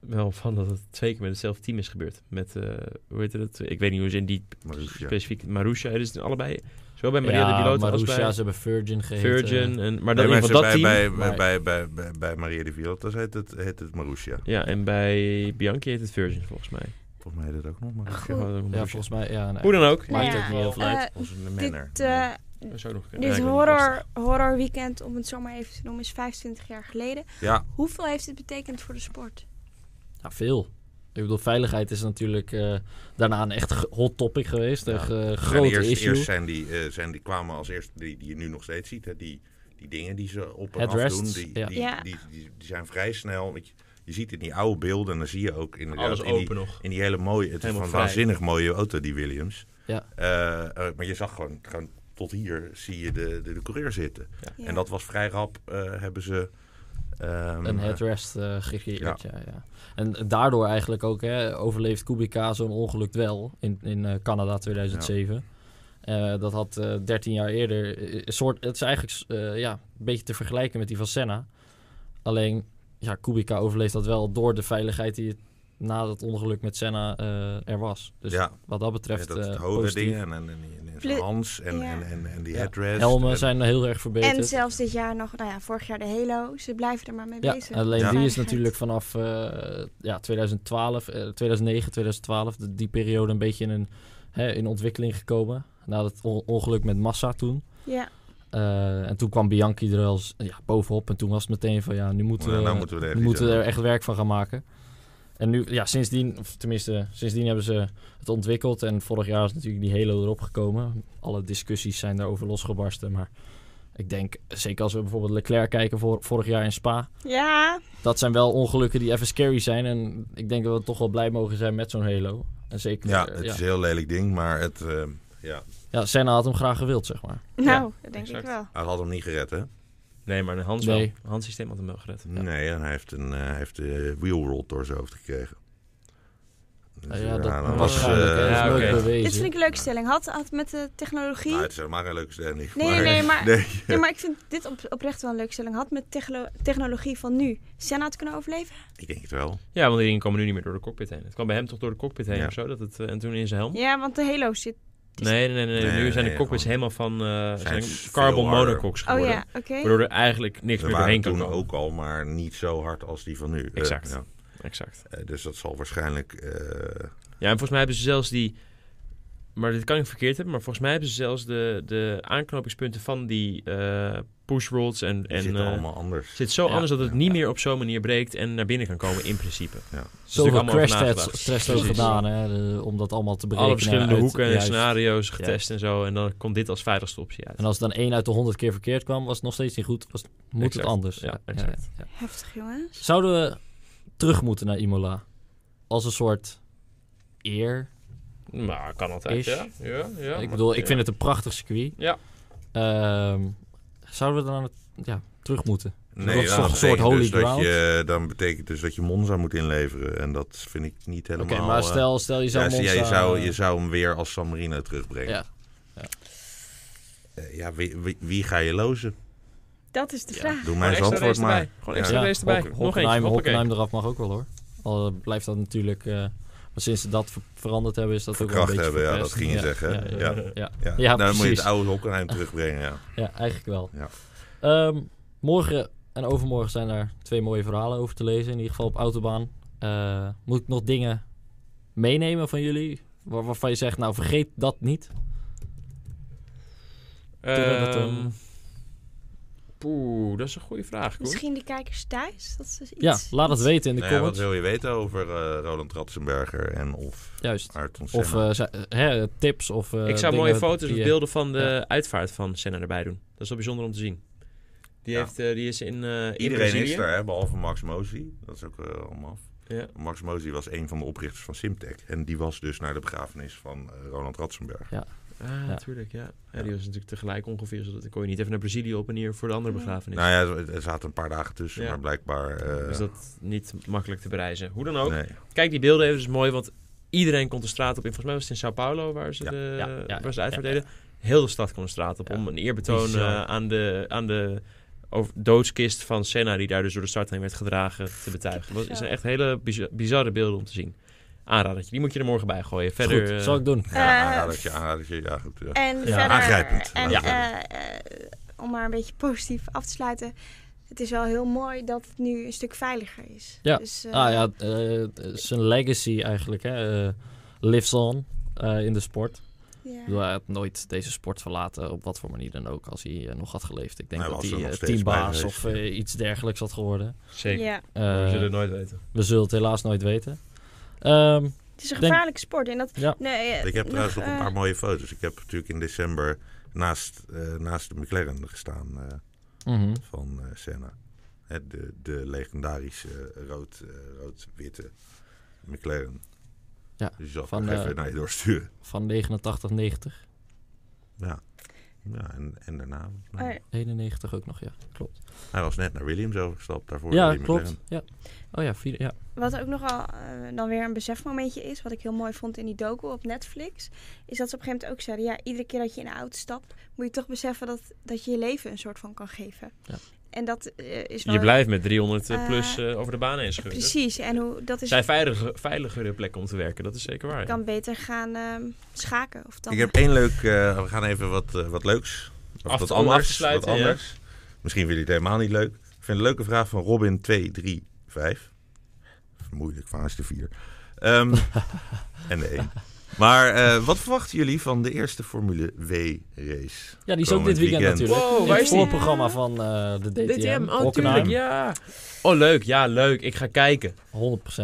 A: wel van dat het twee keer met hetzelfde team is gebeurd. Met, eh, hoe heet het? Ik weet niet hoe ze in die
B: maar dus, ja.
A: specifiek... Marussia, dus het allebei. Zowel bij Maria
D: ja,
A: de Pilota als
D: Marussia, eh,
A: bij
D: ze hebben Virgin geheten.
A: Virgin. En, maar
B: Nee,
A: dan in
B: maar
A: ieder geval dat
B: bij,
A: team.
B: bij,
D: maar-
B: bij, bij, bij, bij Maria de Viotas heet het, heet het Marussia.
A: Ja, en bij Bianchi heet het Virgin volgens mij.
B: Volgens mij heet het ook nog
A: Ik
B: Marussia.
C: Eh,
A: zeg wel dat het
D: Ja,
A: Marussia-
D: volgens mij. Ja, nee.
A: Hoe dan ook.
D: Maakt
C: Nou ja,
D: ook niet heel veel uit.
C: eh,
B: Onze manner.
C: dit, eh,
A: Dat zou ook nog kunnen.
C: dit
A: Ja, ik weet niet, lastig.
C: horror, horror weekend, om het zo maar even te noemen, is 25 jaar geleden.
B: ja,
C: Hoeveel heeft het betekend voor de sport?
D: Ja, veel. Ik bedoel, veiligheid is natuurlijk eh, daarna een echt ge- hot topic geweest. Een
B: Ja.
D: ge-
B: Ja,
D: grote
B: die eerst,
D: issue.
B: eerst zijn die, eh, zijn die kwamen als eerste, die, die je nu nog steeds ziet, hè, die, die dingen die ze op en af doen,
D: Headrests,
B: die,
D: ja.
B: die,
C: Ja.
B: Die, die, die zijn vrij snel. want Je, je ziet in die oude beelden en dan zie je ook inderdaad
A: Alles
B: in, die,
A: open nog.
B: in die hele mooie, het is
A: Helemaal
B: van
A: vrij.
B: waanzinnig mooie auto die Williams.
D: Ja.
B: Eh, eh, maar je zag gewoon, gewoon tot hier zie je de, de, de coureur zitten.
C: Ja.
B: En dat was vrij rap, eh, hebben ze... ehm,
D: Een
B: eh,
D: headrest eh gecreëerd, ja. Ja, En daardoor eigenlijk ook hè, overleeft Kubica zo'n ongeluk wel in, in eh, Canada 2007. Eh, dat had eh 13 jaar eerder... eh, een soort, het is eigenlijk eh, ja, een beetje te vergelijken met die van Senna. Alleen, ja, Kubica overleeft dat wel door de veiligheid die het na dat ongeluk met Senna eh, er was. Dus
B: ja,
D: wat dat
B: ja,
D: betreft
B: dat het
D: eh,
B: hoge
D: positief.
B: dingen en, en, en, en zijn
C: Plu-
B: Hans en,
C: ja.
B: en, en, en die
D: Ja.
B: headrest.
D: Helmen
B: en-
D: zijn heel erg verbeterd.
C: En zelfs dit jaar nog, nou ja, vorig jaar de Halo. Ze blijven er maar mee
D: Ja,
C: bezig.
D: alleen
B: Ja.
D: die is
C: Veiligheid.
D: natuurlijk vanaf eh, ja, 2012, eh, 2009, 2012, de- die periode een beetje in, een, hè, in ontwikkeling gekomen. Na dat on- ongeluk met Massa toen.
C: Ja,
D: Eh, Eh, en toen kwam Bianchi er als ja, bovenop. En toen was het meteen van ja, nu moeten
B: Nou,
D: we,
B: nou moeten we er echt
D: nu moeten we
B: iets
D: er
B: aan
D: echt werk van gaan maken. En nu, ja, sindsdien, of tenminste, sindsdien hebben ze het ontwikkeld. En vorig jaar is natuurlijk die Halo erop gekomen. Alle discussies zijn daarover losgebarsten. Maar ik denk, zeker als we bijvoorbeeld Leclerc kijken voor, vorig jaar in Spa.
C: Ja,
D: Dat zijn wel ongelukken die even scary zijn. En ik denk dat we toch wel blij mogen zijn met zo'n Halo. En zeker,
B: Ja,
D: eh,
B: het
D: ja.
B: is een heel lelijk ding, maar het, eh, ja,
D: Ja, Senna had hem graag gewild, zeg maar.
C: nou, dat denk
A: exact.
C: ik wel.
B: hij had hem niet gered, hè?
A: Nee, maar een Hans
D: Nee.
A: wel. Hans systeem had hem wel gered.
B: Nee, en hij heeft, een, eh, hij heeft de wheelroll door zijn hoofd gekregen. Dus,
D: Ah, ja, dat
B: eh,
A: was
D: was
A: waarschijnlijk,
B: eh,
A: hè. Ja,
D: nooit
A: oké.
D: bewezen.
C: Dit vind ik een leuke stelling. Had, had met de technologie...
B: nou, het is helemaal geen leuke stelling.
C: Nee, nee, nee, maar-
B: Nee,
C: Nee, maar ik vind dit op, oprecht wel een leuke stelling. Had met techlo- technologie van nu Senna het kunnen overleven?
B: ik denk het wel.
A: Ja, want die dingen komen nu niet meer door de cockpit heen. Het kwam bij hem toch door de cockpit heen
B: Ja.
A: of zo. Dat het, eh, en toen in zijn
B: Oh.
A: helm.
C: Ja, want de Halo zit... Oh is-
A: Nee, nee, nee, nee,
B: Nee,
A: Nu zijn
B: nee,
A: de cockpits helemaal van eh, zijn
B: veel
A: carbon
B: harder.
A: monocoques
C: Oh
A: geworden.
C: ja, oké.
A: Waardoor er eigenlijk niks
B: Ze
A: meer
B: waren
A: doorheen kan
B: toen
A: komen.
B: ook al, maar niet zo hard als die van nu. Eh,
A: Exact.
B: ja.
A: Exact.
B: Eh, dus dat zal waarschijnlijk... eh,
A: Ja, en volgens mij hebben ze zelfs die... Maar dit kan ik verkeerd hebben. Maar volgens mij hebben ze zelfs de, de aanknopingspunten van die eh, push rods en...
B: die
A: en
B: zitten
A: eh,
B: allemaal anders.
A: zit zo
D: Ja.
A: anders dat het niet meer op zo'n manier breekt en naar binnen kan komen in principe.
D: Zoveel
A: natuurlijk
D: crash
A: allemaal over
D: tests
A: nagedacht.
D: tests ook
A: Precies.
D: gedaan, hè, de- om dat allemaal te berekenen.
A: Alle verschillende
D: uit-
A: hoeken en
D: juist.
A: scenario's getest en zo. En dan komt dit als veiligste optie uit.
D: En als het dan één uit de honderd keer verkeerd kwam, was het nog steeds niet goed. Was, moet
A: Exact.
D: het anders.
A: Ja, exact.
D: ja.
C: Heftig, jongens.
D: Zouden we terug moeten naar Imola? Als een soort eer.
A: Maar Nou, kan altijd,
D: Is.
A: ja. ja, ja
D: ik bedoel, ik
A: ja.
D: vind het een prachtig circuit.
A: Ja.
D: Ehm, zouden we dan aan het- ja, terug moeten?
B: Nee,
D: dat is
B: ja,
D: toch een soort
B: betekent
D: holy
B: dus dat
D: ground?
B: je, dan betekent dus dat je Monza moet inleveren. En dat vind ik niet
D: Oké,
B: helemaal...
D: maar
B: eh,
D: stel, stel je zou
B: ja,
D: Monza...
B: je, zou, je zou hem weer als San Marino terugbrengen.
D: eh, Ja.
B: Eh, ja, wie, wie, wie ga je lozen?
C: Dat is de
D: Ja.
B: Doe
C: vraag.
B: mij
A: Gewoon
B: eens
A: extra
B: antwoord
A: race
B: maar.
A: erbij. Gewoon extra
D: Ja.
A: race erbij.
D: Hock-
A: Nog
D: Hockenheim-
A: eentje. hoppakee.
D: Hockenheim eraf mag ook wel hoor. Al eh, blijft dat natuurlijk... eh, maar sinds ze dat ver- veranderd hebben, is dat ook wel
B: Verkracht
D: een beetje
B: hebben, ja, dat
D: verpest.
B: ging je zeggen. hè?
D: Ja,
B: Ja,
D: ja, ja.
B: ja. Nou,
D: Ja,
B: Dan moet je het
D: precies.
B: oude Hockenheim terugbrengen, ja.
D: Ja, eigenlijk wel.
B: Ja.
D: Ehm, morgen en overmorgen zijn daar twee mooie verhalen over te lezen. In ieder geval op Autobaan. Eh, moet ik nog dingen meenemen van jullie? Waar, waarvan je zegt, nou vergeet dat niet.
A: Ehm, Poeh, dat is een goede vraag.
D: eh,
A: Koen.
C: Misschien die kijkers thuis? Dat is dus iets,
D: Ja, laat het
C: iets-
D: weten in de
B: Nou ja, wat
D: comments.
B: wil je weten over eh, Roland Ratzenberger en of
D: Juist.
B: Ayrton Senna?
D: Of eh, zi- eh, hè, tips of eh,
A: ik zou
D: dingen
A: mooie foto's
D: die
A: of
D: je-
A: beelden van de uitvaart van Senna erbij doen. Dat is wel bijzonder om te zien. Die,
B: Ja.
A: heeft, eh, die is in, eh, in
B: Iedereen
A: Brazilië.
B: is er, hè, behalve Max Mosley. Dat is ook eh, allemaal af.
A: Ja.
B: Max Mosley was een van de oprichters van Simtech. En die was dus naar de begrafenis van eh, Roland Ratzenberger.
A: Ah, natuurlijk, ja. Ja, Die was natuurlijk tegelijk ongeveer. Zodat dan kon je niet even naar Brazilië op en hier voor de andere
C: Ja.
A: begrafenis.
B: Nou ja, er zaten een paar dagen tussen,
A: Ja.
B: maar blijkbaar... eh,
A: Dus dat niet makkelijk te bereizen. Hoe dan ook.
B: nee.
A: Kijk die beelden even, dat is mooi. Want iedereen kon de straat op. En volgens mij was het in Sao Paulo waar ze
B: Ja.
A: de,
D: Ja, ja,
A: eh, waar ze de
D: ja,
A: uitvaart
D: ja,
A: deden. Heel de stad kon de straat op
D: Ja.
A: om een eerbetoon
D: Bizar.
A: eh, aan de, aan de over- doodskist van Senna... die daar dus door de start heen werd gedragen te betuigen. Dat
C: Kippenvel.
A: zijn echt hele bizar- bizarre beelden om te zien. Aanradertje, die moet je er morgen bij gooien.
D: Is
A: Verder,
D: Goed,
A: eh,
D: zal ik doen.
B: Ja,
C: Eh,
B: aanradertje, aanradertje, ja goed. ja.
C: En
D: Ja.
C: verder...
B: Aangrijpend.
C: En
B: Ja.
C: eh, eh, om maar een beetje positief af te sluiten. Het is wel heel mooi dat het nu een stuk veiliger is.
D: Ja.
C: Dus, eh,
D: Ah ja, eh, zijn legacy eigenlijk. Hè? eh, lives on eh, in de sport. Ik bedoel,
C: ja.
D: Hij had nooit deze sport verlaten, op wat voor manier dan ook, als hij eh, nog had geleefd. Ik denk
B: Hij
D: dat
B: was
D: hij
B: er nog
D: eh,
B: steeds bij
D: teambaas
B: geweest,
D: of eh, iets dergelijks had geworden.
A: Zeker.
C: Ja.
D: Eh,
A: we zullen het nooit weten.
D: we zullen het helaas nooit weten. Ehm,
C: Het is een
D: Denk-
C: gevaarlijke sport. En dat,
D: Ja.
C: nee, eh,
B: Ik heb trouwens nog
C: eh,
B: een paar mooie foto's. Ik heb natuurlijk in december naast, eh, naast de McLaren gestaan eh,
D: mhm.
B: van eh, Senna. Hè, de, de legendarische eh, rood, eh, rood-witte McLaren.
D: Ja,
B: Dus je zal
D: van,
B: van,
D: eh,
B: even naar je doorsturen.
D: Van 89, 90.
B: Ja, ja en, en daarna.
C: eh,
D: 91 ook nog, ja. Klopt.
B: Hij was net naar Williams overgestapt. Daarvoor
D: ja,
B: naar die
D: klopt.
B: McLaren.
D: Ja. Oh ja, vier, ja.
C: Wat ook nogal eh, dan weer een besefmomentje is, wat ik heel mooi vond in die docu op Netflix, is dat ze op een gegeven moment ook zeiden, ja, iedere keer dat je in een auto stapt, moet je toch beseffen dat, dat je je leven een soort van kan geven.
D: Ja.
C: En dat eh, is wel...
A: Je blijft met 300
C: eh,
A: plus eh, over de baan heen schudden.
C: Precies, en hoe, dat
A: Het
C: is,
A: zijn veilige, veiligere plekken om te werken, dat is zeker waar. ja.
C: kan beter gaan ehm, schaken. Of dan,
B: Ik heb één leuk... eh, we gaan even wat, eh, wat leuks. Of
A: Af-
B: wat
A: om af te
B: anders. Wat
A: sluiten, ja.
B: anders. Misschien vind je het helemaal niet leuk. Ik vind een leuke vraag van Robin235. Moeilijk, van is de 4. Ehm, en de 1. Maar eh, wat verwachten jullie van de eerste Formule W-race?
D: Ja, die is ook
B: Komend
D: dit weekend,
B: weekend.
D: natuurlijk.
A: Wow,
D: In
A: waar
D: het
A: is die?
D: voorprogramma van eh, de DTM.
A: DTM, oh
D: Hockenheim,
A: tuurlijk, ja. Oh leuk, ja leuk, ik ga kijken.
D: 100%.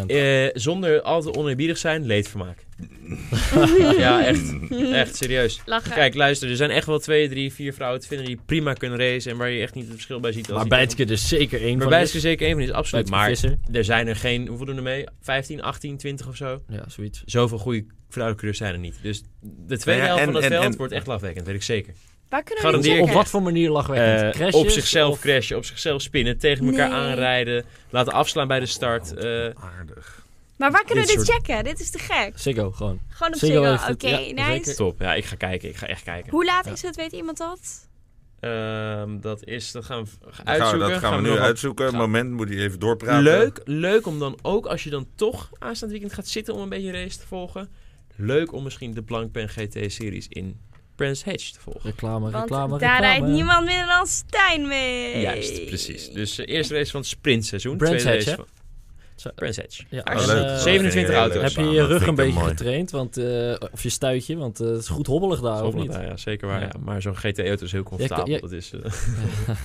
A: Eh, zonder al te oneerbiedig zijn, leedvermaak. ja, echt, echt, serieus.
E: Lachen.
A: Kijk, luister, er zijn echt wel twee, drie, vier vrouwen te vinden die prima kunnen racen en waar je echt niet het verschil bij ziet. Als
D: maar
A: die-
D: Bijtke er zeker één
A: maar
D: van is.
A: Bijtke zeker één van die is, absoluut.
D: Bijtke
A: Maar
D: Visser.
A: er zijn er geen, hoeveel doen er mee? 15, 18, 20 of zo?
D: Ja, zoiets.
A: Zoveel goede vrouwencoureurs zijn er niet. Dus de tweede
B: ja,
A: helft
B: en-
A: van het
B: en-
A: veld
B: en-
A: wordt echt lafwekkend, weet ik zeker.
C: Waar kunnen we dit
A: Garandeer
C: checken?
A: ik.
D: Op wat voor manier lag
A: Eh,
D: weg?
A: op zichzelf crashen, op zichzelf spinnen, tegen elkaar
C: Nee.
A: aanrijden, laten afslaan bij de start. eh,
B: Aardig.
C: Maar waar kunnen we
D: Dit
C: dit checken? Dit is te gek.
D: Ziggo, gewoon.
C: Gewoon op
D: Ziggo
C: Ziggo.
D: heeft
C: Oké,
D: het, ja,
C: nice.
D: zeker.
A: top. Ja, ik ga kijken. Ik ga echt kijken.
C: Hoe laat
D: Ja.
C: is het? Weet iemand dat?
A: Ehm, dat is, dat gaan we v- uitzoeken.
B: Dat gaan we, dat gaan we nu
A: nog
B: uitzoeken. Een
A: gaan-
B: moment, moet hij even
A: wat-
B: doorpraten.
A: Leuk, leuk om dan ook, als je dan toch aanstaand weekend gaat zitten om een beetje race te volgen. Leuk om misschien de Blankpen GT-series in Brands Hatch te volgen.
D: Reclame,
C: Want
D: reclame,
C: daar
D: reclame.
C: rijdt niemand minder dan Stijn mee.
A: Juist, precies. Dus eh, eerste race van het sprintseizoen.
D: Brands
A: tweede
D: Hatch,
A: race
D: hè?
A: van
D: Zo.
A: Brands Hatch.
D: Ja,
B: Oh,
D: en,
B: leuk.
D: eh,
A: 27 auto's.
D: Heb je eh,
B: Dat
D: je
B: vind
D: rug
B: ik
D: een
B: heel
D: beetje
B: mooi.
D: getraind? Want, eh, of je stuitje? Want eh, het is goed hobbelig daar,
A: Zo
D: of niet?
A: daar, ja, zeker waar.
D: Ja.
A: Ja. Maar zo'n GT-auto is heel comfortabel.
D: ja.
A: Dat is, eh,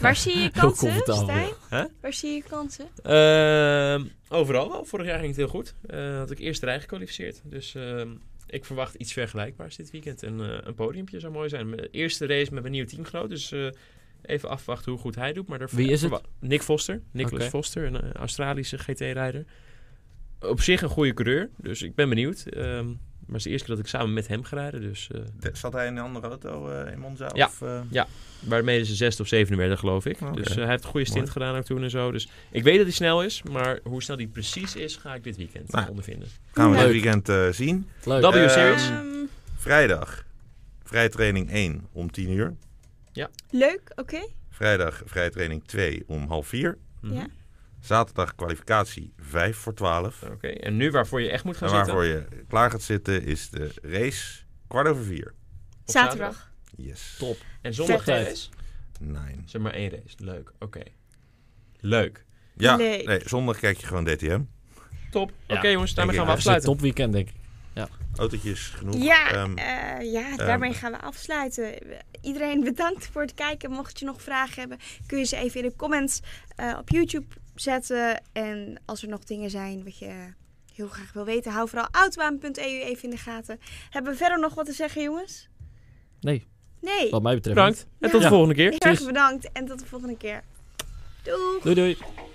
C: Waar zie je kansen,
D: comfortabel.
C: Stijn?
A: Hè?
C: Waar zie je kansen?
A: Ehm, overal wel. Vorig jaar ging het heel goed. Eh, had ik eerste rij gekwalificeerd. Dus ehm, ik verwacht iets vergelijkbaars dit weekend. En eh, een podiumpje zou mooi zijn. Mijn eerste race met mijn nieuwe teamgenoot. Dus eh, even afwachten hoe goed hij doet. Maar daar
D: Wie is het?
A: verwa- Nick Foster. Nicolas
D: Oké.
A: Foster, een eh, Australische GT-rijder. Op zich een goede coureur. Dus ik ben benieuwd. Ehm, maar het is de eerste keer dat ik samen met hem ga rijden. Dus, eh,
B: De- Zat hij in een andere auto eh, in Monza?
A: Ja.
B: Of, eh,
A: waarmee ze zesde of zevende werden, geloof ik.
B: Oké.
A: Dus eh, hij heeft een goede stint
B: Mooi.
A: gedaan ook toen en zo. Dus ik weet dat hij snel is. Maar hoe snel die precies is, ga ik dit weekend
B: Nou.
A: ondervinden.
B: Gaan we dit
D: Leuk.
B: weekend eh, zien.
D: Leuk.
A: Dat-
B: Eh,
A: Series?
C: Ehm,
B: Vrijdag, vrijtraining 1 om 10 uur.
C: leuk, oké.
B: Vrijdag, vrijtraining 2 om half 4.
A: Mhm.
C: Ja.
B: Zaterdag kwalificatie 5 voor 12.
A: Oké, en nu waarvoor je echt moet gaan
B: En
A: zitten?
B: waarvoor je klaar gaat zitten is de race kwart over 4.
A: Op
C: Zaterdag.
B: Yes.
D: Top.
A: En zondag
D: Vet.
A: geen race?
B: Nine.
A: Zeg maar één race. Leuk, oké. Leuk.
B: Ja,
C: Leuk.
B: nee, zondag kijk je gewoon DTM.
A: Top.
D: Ja,
A: Oké jongens, daarmee
B: denk
A: gaan we
B: ik
D: Het is
A: afsluiten.
D: een topweekend, denk ik.
B: Autootjes genoeg.
C: Ja,
B: Ehm,
C: eh, ja daarmee gaan we afsluiten. Iedereen bedankt voor het kijken. Mocht je nog vragen hebben, kun je ze even in de comments eh, op YouTube zetten. En als er nog dingen zijn wat je heel graag wil weten, hou vooral autobaan.eu even in de gaten. Hebben we verder nog wat te zeggen, jongens?
D: Nee.
C: Nee.
D: Wat mij betreft.
A: Bedankt. En tot
C: Ja.
A: de volgende keer.
C: Heel erg bedankt en tot de volgende keer. Doeg!
D: Doei, doei.